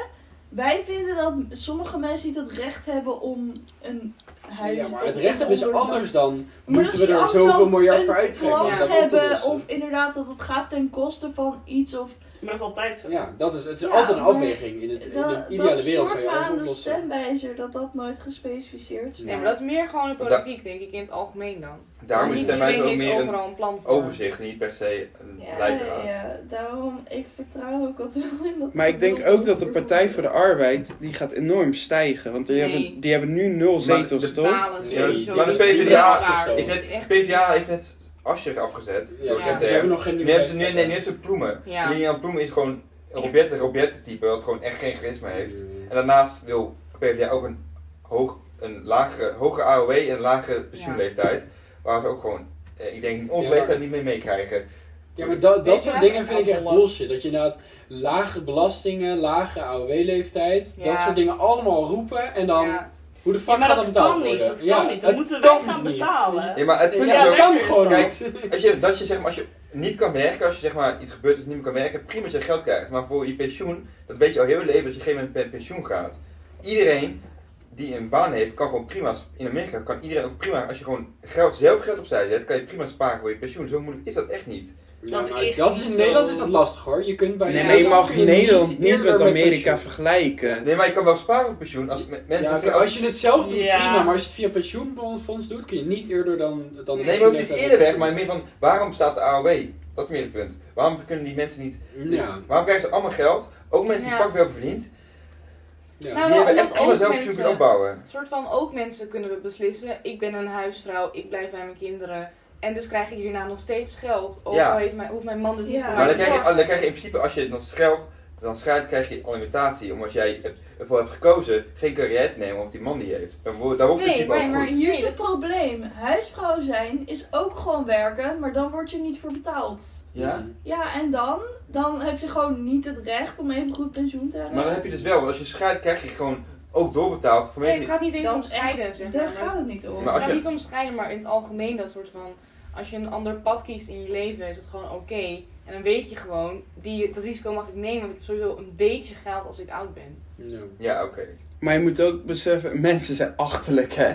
[SPEAKER 3] Wij vinden dat sommige mensen niet het recht hebben om een huis...
[SPEAKER 5] Ja, maar het
[SPEAKER 3] of
[SPEAKER 5] recht hebben is
[SPEAKER 3] een ander-
[SPEAKER 5] anders dan,
[SPEAKER 3] Maar
[SPEAKER 5] moeten we
[SPEAKER 3] dat je
[SPEAKER 5] er
[SPEAKER 3] ook
[SPEAKER 5] zoveel
[SPEAKER 3] zo'n-
[SPEAKER 5] miljard voor
[SPEAKER 3] een
[SPEAKER 5] uittrekken om
[SPEAKER 3] plan
[SPEAKER 5] dat op te
[SPEAKER 3] hebben,
[SPEAKER 5] lossen.
[SPEAKER 3] of inderdaad dat het gaat ten koste van iets of
[SPEAKER 4] Maar dat is altijd zo.
[SPEAKER 5] Ja, dat is, het is
[SPEAKER 3] Ja,
[SPEAKER 5] altijd een
[SPEAKER 3] maar
[SPEAKER 5] afweging. In, het, in
[SPEAKER 3] Dat-
[SPEAKER 5] een ideale
[SPEAKER 3] dat
[SPEAKER 5] wereld zou
[SPEAKER 3] stoort
[SPEAKER 5] je
[SPEAKER 3] me
[SPEAKER 5] alles
[SPEAKER 3] aan de
[SPEAKER 5] oplossen.
[SPEAKER 3] stemwijzer dat dat nooit gespecificeerd staat.
[SPEAKER 6] Nee, maar dat is meer gewoon de
[SPEAKER 1] Dat-
[SPEAKER 6] politiek, denk ik, in het algemeen dan.
[SPEAKER 1] Daarom is
[SPEAKER 6] Niet
[SPEAKER 1] het bij mij zo
[SPEAKER 6] iedereen
[SPEAKER 1] ook
[SPEAKER 6] heeft
[SPEAKER 1] meer een
[SPEAKER 6] overal een plan voor.
[SPEAKER 1] overzicht, niet per se een
[SPEAKER 3] Ja,
[SPEAKER 1] leidraad.
[SPEAKER 3] ja, daarom, ik vertrouw ook altijd wel in dat...
[SPEAKER 2] Maar ik denk ook dat de Partij voor de Arbeid, die gaat enorm stijgen. Want die,
[SPEAKER 6] Nee.
[SPEAKER 2] hebben, die hebben nu nul
[SPEAKER 1] Maar
[SPEAKER 2] zetels,
[SPEAKER 1] de
[SPEAKER 2] toch?
[SPEAKER 6] Balen,
[SPEAKER 5] Nee,
[SPEAKER 6] sowieso, Dus
[SPEAKER 1] maar de
[SPEAKER 6] dat is niet
[SPEAKER 1] PvdA
[SPEAKER 6] echt waar.
[SPEAKER 5] is
[SPEAKER 1] Is net,
[SPEAKER 6] Echt.
[SPEAKER 1] PvdA heeft net Asscher afgezet
[SPEAKER 5] Ja,
[SPEAKER 1] door
[SPEAKER 5] ze
[SPEAKER 6] Ja.
[SPEAKER 1] ZTR.
[SPEAKER 5] hebben
[SPEAKER 1] Nu
[SPEAKER 5] nog geen
[SPEAKER 1] hebben ze, nu, nee, nu hebben ze Ploemen.
[SPEAKER 6] Ja.
[SPEAKER 1] Lilian Ploem is gewoon een Robjette, Robjette type, wat gewoon echt geen charisma heeft. En
[SPEAKER 5] Ja.
[SPEAKER 1] daarnaast wil PvdA ook een, hoog, een lagere, hogere AOW en een lagere pensioenleeftijd. Waar ze ook gewoon, eh, ik denk, onze
[SPEAKER 5] Ja, maar-
[SPEAKER 1] leeftijd niet mee meekrijgen.
[SPEAKER 5] Ja, maar dat,
[SPEAKER 6] Weet
[SPEAKER 5] dat
[SPEAKER 6] je
[SPEAKER 5] soort
[SPEAKER 6] waar?
[SPEAKER 5] dingen vind ik echt
[SPEAKER 6] Alcohol.
[SPEAKER 5] bullshit. Dat je inderdaad lage belastingen, lage AOW-leeftijd, dat
[SPEAKER 6] Ja.
[SPEAKER 5] soort dingen allemaal roepen en dan...
[SPEAKER 6] Ja.
[SPEAKER 5] Hoe de fuck
[SPEAKER 4] maar
[SPEAKER 5] gaat
[SPEAKER 4] dat
[SPEAKER 5] betaald
[SPEAKER 4] kan niet,
[SPEAKER 5] worden?
[SPEAKER 4] dat kan niet. Dat
[SPEAKER 5] het
[SPEAKER 4] moeten
[SPEAKER 5] kan
[SPEAKER 4] wij gaan
[SPEAKER 5] niet.
[SPEAKER 4] betalen.
[SPEAKER 1] Ja, maar het punt
[SPEAKER 5] Ja,
[SPEAKER 1] is
[SPEAKER 5] dat
[SPEAKER 1] ook,
[SPEAKER 5] kan gewoon
[SPEAKER 1] Kijk,
[SPEAKER 5] niet.
[SPEAKER 1] als je, dat je, zeg maar, als je niet kan werken, als je zeg maar, iets gebeurt dat je niet meer kan werken, prima dat je geld krijgt. Maar voor je pensioen, dat weet je al heel je leven, dat je op een gegeven moment met pensioen gaat. Iedereen die een baan heeft, kan gewoon prima, in Amerika kan iedereen ook prima, als je gewoon geld, zelf geld opzij zet, kan je prima sparen voor je pensioen. Zo moeilijk is dat echt niet.
[SPEAKER 5] Ja,
[SPEAKER 4] Dat
[SPEAKER 5] maar
[SPEAKER 4] is
[SPEAKER 5] dat
[SPEAKER 4] niet
[SPEAKER 5] in
[SPEAKER 4] zo.
[SPEAKER 5] Nederland is dat lastig hoor. Je kunt bij
[SPEAKER 2] Nee,
[SPEAKER 5] ja,
[SPEAKER 2] maar je
[SPEAKER 5] dan
[SPEAKER 2] mag
[SPEAKER 5] kun je
[SPEAKER 2] Nederland niet
[SPEAKER 5] eerder
[SPEAKER 2] met
[SPEAKER 5] met
[SPEAKER 2] Amerika
[SPEAKER 4] dus-
[SPEAKER 5] pensioen.
[SPEAKER 2] vergelijken.
[SPEAKER 1] Nee, maar je kan wel sparen voor pensioen. Als me- mensen
[SPEAKER 5] Ja, oké, als je hetzelfde doet,
[SPEAKER 4] Ja.
[SPEAKER 5] prima, maar als je het via pensioenfonds doet, kun je niet eerder dan... dan
[SPEAKER 1] Nee, maar hoeft niet eerder weg, maar meer van, waarom staat de AOW? Dat is meer het punt. Waarom kunnen die mensen niet,
[SPEAKER 5] Ja,
[SPEAKER 1] waarom krijgen ze allemaal geld? Ook mensen die
[SPEAKER 6] Ja.
[SPEAKER 1] fucking veel hebben verdiend,
[SPEAKER 5] ja.
[SPEAKER 6] Nou,
[SPEAKER 1] die hebben
[SPEAKER 6] omdat
[SPEAKER 1] echt alles
[SPEAKER 6] ook
[SPEAKER 1] zelf pensioen kunnen
[SPEAKER 6] mensen-
[SPEAKER 1] opbouwen.
[SPEAKER 6] Een soort van ook mensen kunnen we beslissen. Ik ben een huisvrouw, ik blijf bij mijn kinderen. En dus krijg ik hierna nog steeds geld. Ook
[SPEAKER 1] Ja.
[SPEAKER 6] al heeft mijn, hoeft mijn man dus niet
[SPEAKER 3] Ja.
[SPEAKER 6] voor
[SPEAKER 1] Maar
[SPEAKER 6] mij
[SPEAKER 1] dan
[SPEAKER 6] te
[SPEAKER 1] krijg, je,
[SPEAKER 6] zorgen.
[SPEAKER 1] dan krijg je in principe, als je dan scheidt, dan scheidt, krijg je alimentatie. Omdat jij ervoor hebt gekozen geen carrière te nemen op die man die heeft. Dan wo- daar hoeft het in
[SPEAKER 3] Nee,
[SPEAKER 1] principe
[SPEAKER 3] maar,
[SPEAKER 1] ook
[SPEAKER 3] maar
[SPEAKER 1] goed.
[SPEAKER 3] hier is
[SPEAKER 6] Nee,
[SPEAKER 3] het
[SPEAKER 6] dat is-
[SPEAKER 3] probleem. Huisvrouw zijn is ook gewoon werken, maar dan word je niet voor betaald.
[SPEAKER 1] Ja?
[SPEAKER 3] Ja, en dan? Dan heb je gewoon niet het recht om even goed pensioen te hebben.
[SPEAKER 1] Maar dan heb je dus wel, want als je scheidt, krijg je gewoon ook doorbetaald.
[SPEAKER 6] Nee,
[SPEAKER 1] Vanwege
[SPEAKER 6] het
[SPEAKER 1] die-
[SPEAKER 6] gaat niet eens
[SPEAKER 3] Dat
[SPEAKER 6] om
[SPEAKER 3] is
[SPEAKER 6] scheiden, zeg
[SPEAKER 3] Daar
[SPEAKER 6] maar.
[SPEAKER 3] gaat het niet om.
[SPEAKER 1] Maar
[SPEAKER 6] Het
[SPEAKER 1] als
[SPEAKER 6] gaat
[SPEAKER 1] je-
[SPEAKER 6] niet om scheiden, maar in het algemeen dat soort van... Als je een ander pad kiest in je leven, is het gewoon oké. En dan weet je gewoon, die, dat risico mag ik nemen, want ik heb sowieso een beetje geld als ik oud ben.
[SPEAKER 5] Ja.
[SPEAKER 1] Ja, oké.
[SPEAKER 2] Maar je moet ook beseffen, mensen zijn achterlijk, hè?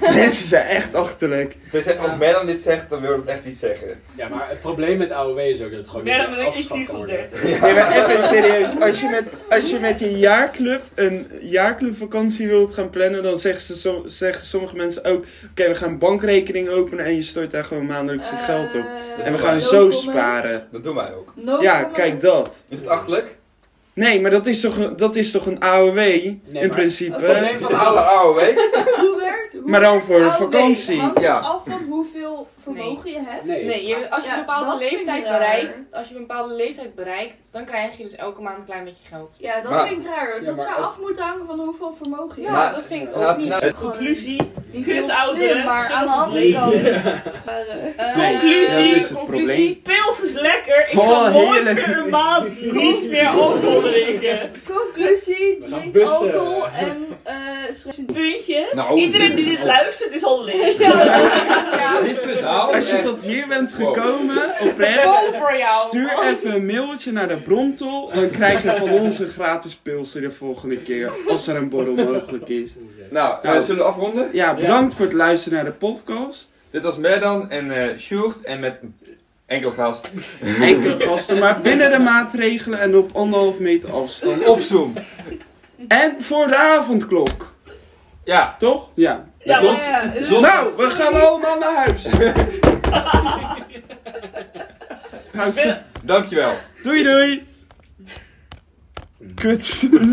[SPEAKER 2] mensen zijn echt achterlijk.
[SPEAKER 1] Dus hè, als Merdan dit zegt, dan wil dat echt iets zeggen.
[SPEAKER 5] Ja, maar het probleem met AOW is ook dat het gewoon
[SPEAKER 4] Merel,
[SPEAKER 5] niet
[SPEAKER 4] dan denk ik
[SPEAKER 5] afgeschaft
[SPEAKER 4] niet
[SPEAKER 5] kan
[SPEAKER 4] van
[SPEAKER 5] worden.
[SPEAKER 4] 30.
[SPEAKER 2] Nee, maar even serieus. Als je met, als je, met je jaarclub een jaarclubvakantie wilt gaan plannen, dan zeggen, ze som- zeggen sommige mensen ook: Oké, we gaan een bankrekening openen en je stort daar gewoon maandelijks je
[SPEAKER 3] Eh,
[SPEAKER 2] geld op. En we
[SPEAKER 1] no
[SPEAKER 2] gaan zo sparen.
[SPEAKER 1] Dat doen wij ook.
[SPEAKER 3] No
[SPEAKER 2] Ja,
[SPEAKER 3] comment.
[SPEAKER 2] kijk dat.
[SPEAKER 1] Is het achterlijk?
[SPEAKER 2] Nee, maar dat is toch, een- dat is toch een AOW
[SPEAKER 5] maar-
[SPEAKER 2] in principe?
[SPEAKER 5] Het probleem van
[SPEAKER 1] Alle AOW.
[SPEAKER 5] AOW...
[SPEAKER 3] Hoe werkt hoe
[SPEAKER 2] Maar dan voor
[SPEAKER 3] werkt
[SPEAKER 2] de
[SPEAKER 3] AOW?
[SPEAKER 2] vakantie.
[SPEAKER 3] Hangt het
[SPEAKER 1] Ja.
[SPEAKER 3] af van hoeveel vermogen je hebt?
[SPEAKER 5] Nee.
[SPEAKER 6] Nee, je- als je
[SPEAKER 3] Ja,
[SPEAKER 6] een bepaalde
[SPEAKER 3] dat vind ik
[SPEAKER 6] leeftijd
[SPEAKER 3] raar.
[SPEAKER 6] bereikt, als je een bepaalde leeftijd bereikt, dan krijg je dus elke maand een klein beetje geld.
[SPEAKER 3] Ja, dat
[SPEAKER 1] Maar-
[SPEAKER 3] vind ik raar.
[SPEAKER 5] Ja,
[SPEAKER 3] dat
[SPEAKER 5] maar
[SPEAKER 3] zou
[SPEAKER 5] het-
[SPEAKER 3] af moeten hangen van hoeveel vermogen je
[SPEAKER 6] Ja,
[SPEAKER 3] hebt.
[SPEAKER 1] Maar-
[SPEAKER 6] dat vind ik ook
[SPEAKER 1] Nou,
[SPEAKER 6] niet.
[SPEAKER 1] nou,
[SPEAKER 3] Gewoon
[SPEAKER 4] Conclusie.
[SPEAKER 3] niet
[SPEAKER 4] kut
[SPEAKER 3] heel
[SPEAKER 4] ouderen,
[SPEAKER 3] slim, maar
[SPEAKER 4] gun
[SPEAKER 3] aan de
[SPEAKER 4] het
[SPEAKER 3] andere
[SPEAKER 4] leven.
[SPEAKER 3] kant.
[SPEAKER 6] Eh,
[SPEAKER 4] Nee. Conclusie,
[SPEAKER 2] dat is het probleem.
[SPEAKER 4] Pils is lekker. Ik
[SPEAKER 2] Oh,
[SPEAKER 4] ga nooit
[SPEAKER 2] heerlijk.
[SPEAKER 4] meer een maand niet meer alcohol drinken.
[SPEAKER 3] Conclusie,
[SPEAKER 5] We gaan
[SPEAKER 3] drink
[SPEAKER 5] bussen.
[SPEAKER 3] alcohol en eh schrijf
[SPEAKER 4] Puntje.
[SPEAKER 1] Nou,
[SPEAKER 2] Oh.
[SPEAKER 4] Iedereen die dit luistert is al
[SPEAKER 1] dit
[SPEAKER 4] leeg.
[SPEAKER 1] punt halen.
[SPEAKER 2] Als je
[SPEAKER 1] echt.
[SPEAKER 2] tot hier bent
[SPEAKER 1] Wow.
[SPEAKER 2] gekomen, oprecht,
[SPEAKER 4] Vol voor jou.
[SPEAKER 2] stuur even een mailtje naar de Brontol. Dan krijg je van ons een gratis pilsje de volgende keer. Als er een borrel mogelijk is.
[SPEAKER 1] Nou, eh,
[SPEAKER 2] Nou.
[SPEAKER 1] zullen we afronden?
[SPEAKER 2] Ja, bedankt voor het luisteren naar de podcast.
[SPEAKER 1] Dit was Merdan en eh Sjoerd en met enkel gast
[SPEAKER 2] Enkele gasten, maar binnen de maatregelen en op anderhalf meter afstand.
[SPEAKER 1] op Zoom.
[SPEAKER 2] En voor de avondklok,
[SPEAKER 1] Ja,
[SPEAKER 2] toch? Ja.
[SPEAKER 4] Ja,
[SPEAKER 1] Zon-
[SPEAKER 4] maar-
[SPEAKER 2] Nou, we gaan allemaal naar huis. Houdt ze-
[SPEAKER 1] dankjewel.
[SPEAKER 2] Doei doei. Kut.